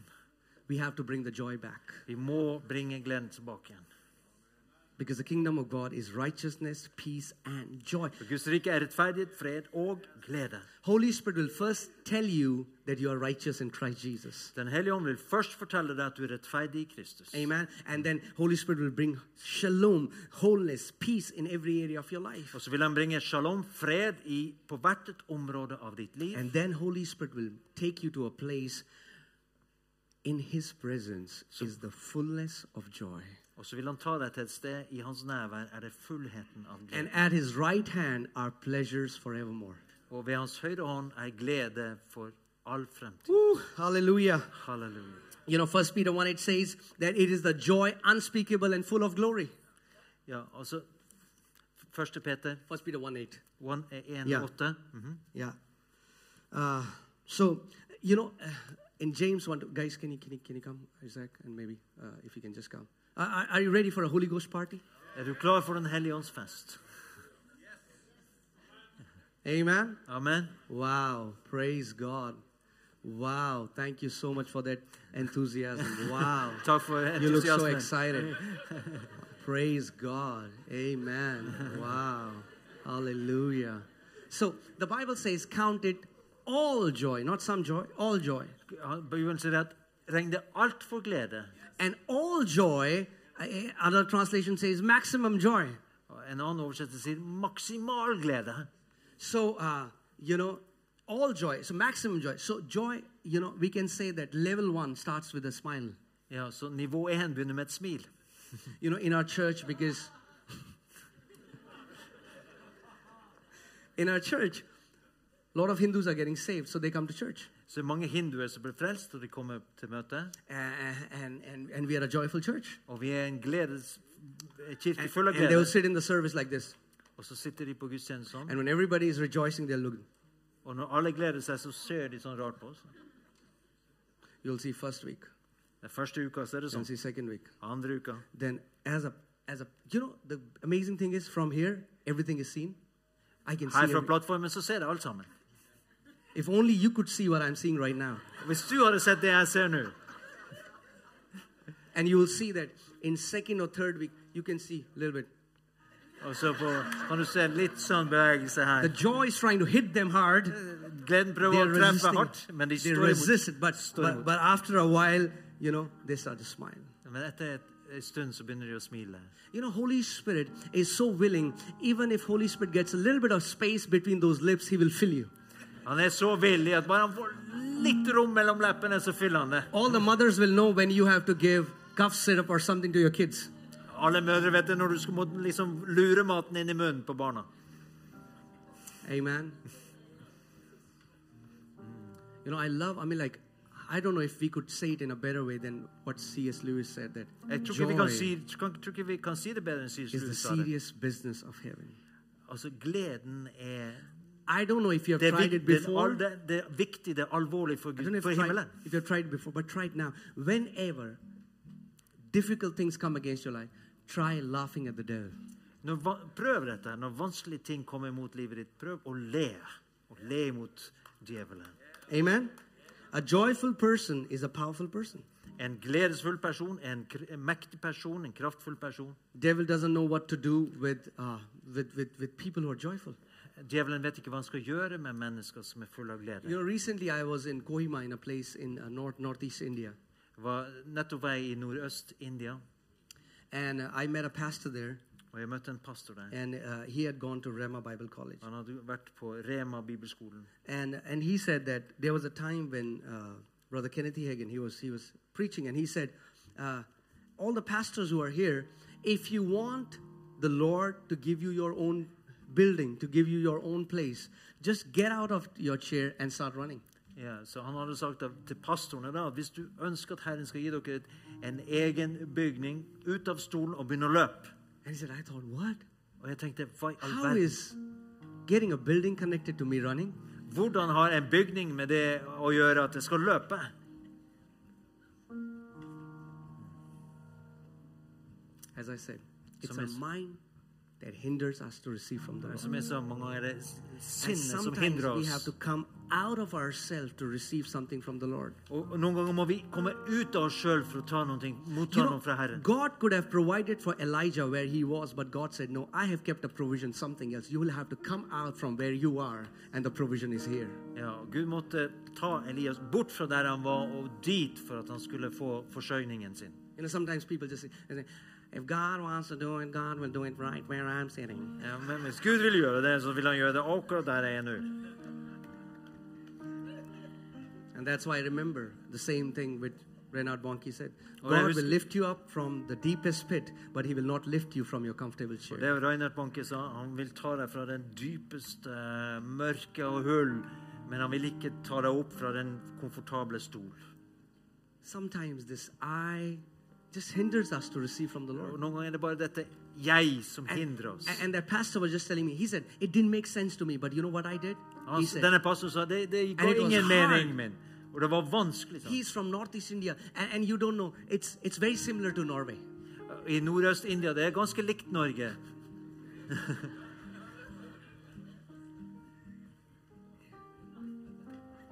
Speaker 1: We have to bring the joy back
Speaker 2: Vi må bringe gleden tilbake igjen.
Speaker 1: because the kingdom of God is righteousness, peace, and joy.
Speaker 2: For Guds rike er rettferdighet, fred og glede.
Speaker 1: Holy Spirit will first tell you that you are righteous in Christ Jesus.
Speaker 2: Den hellige ånd vil først fortelle deg at du er rettferdig i Kristus.
Speaker 1: Amen. And then Holy Spirit will bring shalom, wholeness, peace in every area of your life.
Speaker 2: Og så vil han bringe shalom, fred, i, på hvert et område av ditt liv.
Speaker 1: And then Holy Spirit will take you to a place in his presence is the fullness of joy.
Speaker 2: Og så vil han ta deg til et sted. I hans nærvær er det fullheten av
Speaker 1: And
Speaker 2: glede.
Speaker 1: at his right hand are pleasures forevermore.
Speaker 2: og ved hans høyre hånd er glede for all fremtid.
Speaker 1: Woo, hallelujah.
Speaker 2: Halleluja.
Speaker 1: You know, First Peter 1 8 says that it is the joy unspeakable and full of glory.
Speaker 2: Ja, altså, 1. Peter
Speaker 1: First Peter 1 8.
Speaker 2: 1, eh, 1
Speaker 1: Ja.
Speaker 2: 8. Mhm.
Speaker 1: Yeah. Uh, so, you know, uh, in James 1, guys, can you, can you, can you come, Isaac, and maybe uh, if you can just come. Are- Are, are you ready for a Holy Ghost party?
Speaker 2: Er du klar for Den hellige ånds fest?
Speaker 1: Amen.
Speaker 2: Amen.
Speaker 1: Wow. Praise God. Wow. Thank you so much for that enthusiasm. Wow.
Speaker 2: Takk for
Speaker 1: you look so
Speaker 2: entusiasmen.
Speaker 1: excited. Praise God. Amen. Wow. Hallelujah. So the Bible says, count it all joy, not some joy, all joy.
Speaker 2: Han- Bibelen sier at regn det alt for glede.
Speaker 1: And all joy, uh, other translation says maximum joy.
Speaker 2: Og En annen oversettelse sier maksimal glede.
Speaker 1: So, uh, you know, all joy, so maximum joy. So, joy, you know, we can say that level one starts with a smile.
Speaker 2: Ja, så Nivå 1 begynner med et smil.
Speaker 1: You know, in our church, because *laughs* in our church, a lot of Hindus are getting saved, so they come to church.
Speaker 2: Så det er mange hinduer som blir frelst, og de kommer til møtet.
Speaker 1: Uh, and, and, and we are a joyful church.
Speaker 2: Og vi er en gledes en kirke full av
Speaker 1: And they will
Speaker 2: glede.
Speaker 1: sit in the service like this.
Speaker 2: Og så sitter de på gudstjenesten sånn.
Speaker 1: And when everybody is rejoicing, they'll look.
Speaker 2: Og når alle gleder seg, så ser de sånn rart på oss.
Speaker 1: You'll see first week,
Speaker 2: Den første uka så er det
Speaker 1: you'll
Speaker 2: sånn.
Speaker 1: see second week.
Speaker 2: Andre uka.
Speaker 1: then as a as a you know the amazing thing is from here everything is seen i can see
Speaker 2: Her fra
Speaker 1: every-
Speaker 2: plattformen så ser jeg alt sammen.
Speaker 1: if only you could see what i'm seeing right now
Speaker 2: Hvis du hadde sett det jeg ser nå,
Speaker 1: and you will see that in second or third week you can see a little bit
Speaker 2: og så på, kan du se litt sånn bevegelse
Speaker 1: the
Speaker 2: her.
Speaker 1: joy is trying to hit them hard
Speaker 2: Gleden
Speaker 1: they
Speaker 2: prøver
Speaker 1: are
Speaker 2: å treffe
Speaker 1: resisting
Speaker 2: hardt, men de
Speaker 1: they
Speaker 2: står imot.
Speaker 1: resist it but,
Speaker 2: Står
Speaker 1: but
Speaker 2: imot.
Speaker 1: but after a while you know they start to smile
Speaker 2: Men etter et- en stund så begynner de å smile.
Speaker 1: you know holy spirit is so willing even if holy spirit gets a little bit of space between those lips he will fill you
Speaker 2: Han er så villig at bare han får litt rom mellom leppene, så fyller han det.
Speaker 1: all the mothers will know when you have to give cough syrup or something to your kids
Speaker 2: Alle mødre vet det når du skal må liksom lure maten inn i munnen på barna.
Speaker 1: Amen. You know, I love, I mean, like, I don't know if we could say it in a better way than what C.S. Lewis said that
Speaker 2: Jeg tror
Speaker 1: joy
Speaker 2: ikke, vi kan si, kan, tror ikke vi kan si det bedre enn Sier
Speaker 1: is the
Speaker 2: Slutstad.
Speaker 1: serious business of heaven.
Speaker 2: Altså, gleden er
Speaker 1: I don't know if you have
Speaker 2: det er,
Speaker 1: tried
Speaker 2: vik,
Speaker 1: it
Speaker 2: det, er
Speaker 1: before.
Speaker 2: all, det, det er viktig, det er alvorlig for,
Speaker 1: I
Speaker 2: Gud,
Speaker 1: don't know if
Speaker 2: for
Speaker 1: you, tried,
Speaker 2: himmelen.
Speaker 1: if you have tried it before, but try it now. Whenever difficult things come against your life, try laughing at the devil.
Speaker 2: Når, va- prøv dette. Når vanskelige ting kommer imot livet ditt, prøv å le. Å le mot djevelen.
Speaker 1: Amen. A joyful person is a powerful person.
Speaker 2: En gledesfull person, en, kr- en mektig person, en kraftfull person.
Speaker 1: Devil doesn't know what to do with, uh, with, with, with people who are joyful.
Speaker 2: Djevelen vet ikke hva han skal gjøre med mennesker som er fulle av glede.
Speaker 1: You know, recently I was in Kohima in a place in uh, north northeast India,
Speaker 2: var nettopp vei i Nordøst-India,
Speaker 1: and uh, I met a pastor there,
Speaker 2: og jeg møtte en pastor der.
Speaker 1: and uh, he had gone to Rema Bible College,
Speaker 2: Han hadde vært på Rema bibelskolen.
Speaker 1: and and he said that there was a time when uh, Brother Kenneth E. Hagin he was he was preaching, and he said, uh, all the pastors who are here, if you want the Lord to give you your own building, to give you your own place, just get out of your chair and start running.
Speaker 2: Ja, så han hadde sagt da- til pastorene da, at hvis du ønsker at Herren skal gi dere et, en egen bygning, ut av stolen og begynne å løpe.
Speaker 1: And he said, I thought, what?
Speaker 2: Og jeg tenkte, hva i all
Speaker 1: How
Speaker 2: verden?
Speaker 1: is getting a building connected to me running?
Speaker 2: Hvordan har en bygning med det å gjøre at jeg skal løpe?
Speaker 1: As I said, it's
Speaker 2: Some
Speaker 1: our
Speaker 2: is-
Speaker 1: mind that hinders us to receive from the Lord.
Speaker 2: Som jeg sa, mange ganger er det s-
Speaker 1: And
Speaker 2: sinnet som
Speaker 1: sometimes
Speaker 2: hindrer
Speaker 1: we have
Speaker 2: oss.
Speaker 1: to come out of ourselves to receive something from the Lord.
Speaker 2: Og og noen ganger må vi komme ut av oss sjøl for å ta noen ting, motta
Speaker 1: You know,
Speaker 2: noe fra Herren.
Speaker 1: God could have provided for Elijah where he was, but God said, No, I have kept a provision, something else. You will have to come out from where you are, and the provision is here.
Speaker 2: Ja, og Gud måtte ta Elias bort fra der han var, og dit for at han skulle få forsørgningen sin.
Speaker 1: You know, sometimes people just say, they say, If God wants to do it, God will do it right where I'm sitting.
Speaker 2: Ja, men hvis Gud vil gjøre det, så vil han gjøre det akkurat der jeg er nå.
Speaker 1: And that's why I remember the same thing with Reinhard Bonnke said. God
Speaker 2: Og jeg
Speaker 1: will
Speaker 2: husker-
Speaker 1: lift you up from the deepest pit, but he will not lift you from your comfortable
Speaker 2: Det
Speaker 1: chair.
Speaker 2: er Reinhard Banke sa, han vil ta deg fra den dypeste eh, mørke og hull, men han vil ikke ta deg opp fra den komfortable stol.
Speaker 1: Sometimes this I just hinders us to receive from the
Speaker 2: Og
Speaker 1: Lord.
Speaker 2: noen ganger er det bare dette jeg som hindrer oss.
Speaker 1: And that pastor was just telling me, he said, it didn't make sense to me, but you know what I did?
Speaker 2: Han,
Speaker 1: He said,
Speaker 2: denne pastoren sa, det, det
Speaker 1: And it
Speaker 2: ga
Speaker 1: was
Speaker 2: ingen
Speaker 1: hard.
Speaker 2: mening min. Og det var vanskelig. sa han.
Speaker 1: he's from Northeast India, and, and you don't know, it's, it's very similar to Norway.
Speaker 2: I Nordøst-India, det er ganske likt Norge.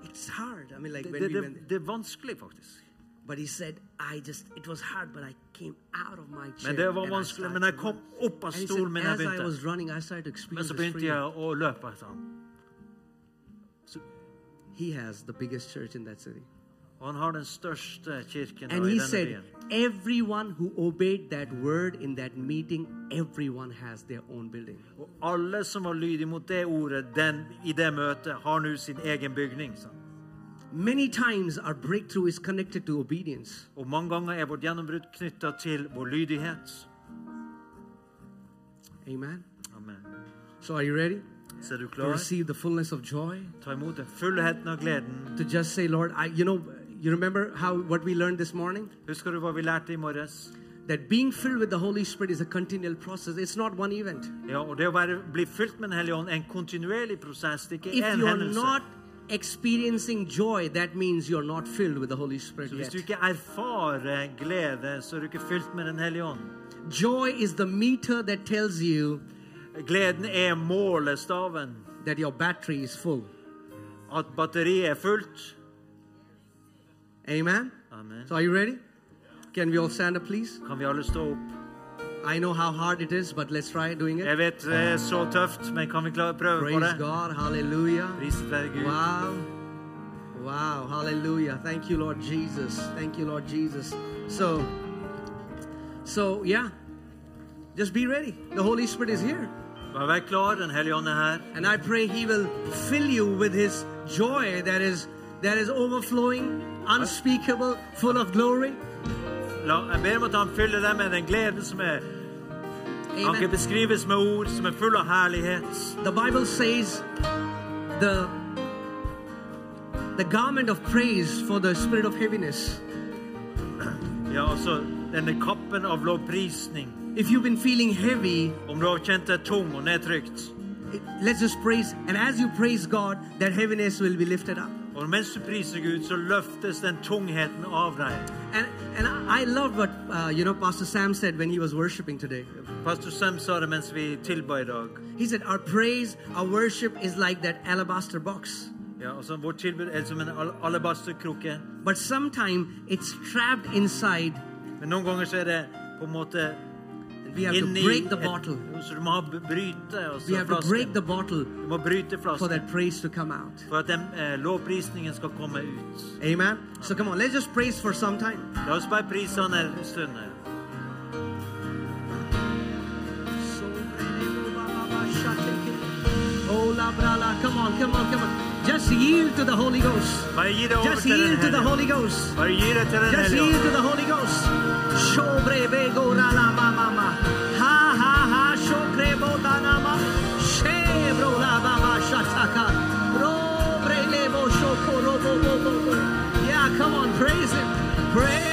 Speaker 1: It's hard. I mean, like
Speaker 2: Det,
Speaker 1: when
Speaker 2: det,
Speaker 1: we
Speaker 2: det,
Speaker 1: went there.
Speaker 2: det er vanskelig, faktisk.
Speaker 1: But he said, I just, it was hard, but I came out of my chair.
Speaker 2: Men det var
Speaker 1: and I
Speaker 2: vanskelig.
Speaker 1: started
Speaker 2: Men jeg
Speaker 1: to
Speaker 2: kom
Speaker 1: run."
Speaker 2: opp av
Speaker 1: And he
Speaker 2: stolen min
Speaker 1: said,
Speaker 2: jeg
Speaker 1: as I was
Speaker 2: begynte.
Speaker 1: running, I started to
Speaker 2: Men
Speaker 1: experience
Speaker 2: så
Speaker 1: this
Speaker 2: begynte
Speaker 1: freedom.
Speaker 2: jeg å løpe etter ham.
Speaker 1: He has the biggest church in that city.
Speaker 2: Og han har den største kirken
Speaker 1: And he
Speaker 2: i denne
Speaker 1: said,
Speaker 2: byen.
Speaker 1: everyone who obeyed that word in that meeting, everyone has their own building.
Speaker 2: Og alle som var lydige mot det ordet den, i det møtet, har nå sin egen bygning. sa han.
Speaker 1: Many times our breakthrough is connected to obedience.
Speaker 2: Og mange ganger er vårt gjennombrudd knytta til vår lydighet.
Speaker 1: Amen.
Speaker 2: Amen.
Speaker 1: So are you ready
Speaker 2: Så er du
Speaker 1: to
Speaker 2: klar?
Speaker 1: receive the fullness of joy?
Speaker 2: Ta imot den fullheten av gleden.
Speaker 1: To just say, Lord, I you know, you remember how what we learned this morning?
Speaker 2: Husker du hva vi lærte i morges?
Speaker 1: That being filled with the Holy Spirit is a continual process. It's not one event.
Speaker 2: Ja, og Det å være, bli fylt med Den hellige ånd er en kontinuerlig prosess. Det er
Speaker 1: If
Speaker 2: ikke én
Speaker 1: you're not
Speaker 2: hendelse.
Speaker 1: experiencing joy, that means you're not filled with the Holy Spirit
Speaker 2: Så Hvis
Speaker 1: yet.
Speaker 2: du ikke erfarer glede, så er du ikke fylt med Den hellige ånd.
Speaker 1: Joy is the meter that tells you
Speaker 2: Gleden er målestaven.
Speaker 1: that your battery is full.
Speaker 2: At batteriet er fullt.
Speaker 1: Amen.
Speaker 2: Amen.
Speaker 1: So are you ready? Can we all stand up, please?
Speaker 2: Kan vi alle stå opp?
Speaker 1: I know how hard it is, but let's try doing it.
Speaker 2: Jeg vet det er så tøft, men kan vi klare, prøve på
Speaker 1: Praise
Speaker 2: det?
Speaker 1: God. Hallelujah.
Speaker 2: Priset være Gud.
Speaker 1: Wow. Wow. Hallelujah. Thank you, Lord Jesus. Thank you, Lord Jesus. So, so yeah, just be ready. The Holy Spirit is here.
Speaker 2: Bare vær klar, Den hellige ånd er her.
Speaker 1: And I pray He will fill you with His joy that is that is overflowing, unspeakable, full of glory.
Speaker 2: La, jeg ber om at han fyller deg med den gleden som er kan ikke
Speaker 1: Amen.
Speaker 2: beskrives med ord, som er full av herlighet.
Speaker 1: The Bible says the the garment of praise for the spirit of heaviness.
Speaker 2: Ja, altså denne kappen av lovprisning.
Speaker 1: If you've been feeling heavy,
Speaker 2: Om du har kjent deg tung og nedtrykt.
Speaker 1: Let's just praise, and as you praise God, that heaviness will be lifted up.
Speaker 2: Og mens du priser Gud, så løftes den tungheten av deg.
Speaker 1: And and I I love what uh, you know Pastor Sam said when he was worshiping today.
Speaker 2: Pastor Sam sa det mens vi tilba i dag.
Speaker 1: He said, "Our praise, our worship is like that alabaster box,
Speaker 2: Ja, altså Vårt tilbud er som en al- alabasterkrukke.
Speaker 1: but sometime it's trapped inside,
Speaker 2: Men noen ganger så er det på en måte
Speaker 1: and we have to
Speaker 2: Inni
Speaker 1: break the
Speaker 2: et-
Speaker 1: bottle.
Speaker 2: Så du må ha b- bryte
Speaker 1: We
Speaker 2: altså,
Speaker 1: have to break
Speaker 2: flasken.
Speaker 1: the bottle
Speaker 2: Du må bryte
Speaker 1: for
Speaker 2: flasken
Speaker 1: that praise to come out."
Speaker 2: for at den eh, lovprisningen skal komme ut.
Speaker 1: Amen. So come on, let's just praise for some time.
Speaker 2: La oss bare prise han en stund her.
Speaker 1: Oh, la, bra, la. Come on, come on, come on. Just yield to the Holy Ghost.
Speaker 2: Bare gi det over
Speaker 1: Just
Speaker 2: til den
Speaker 1: yield to the
Speaker 2: hellige.
Speaker 1: Holy Ghost.
Speaker 2: Bare gi det til den
Speaker 1: Just
Speaker 2: hellige.
Speaker 1: yield to the Holy Ghost. Shobre bego ra la ma ma ma. Ha ha ha shokre bo da na ma. Shebro la ba ba shataka. Robre le bo shoko ro bo bo bo bo. Yeah, come on, praise Him. Praise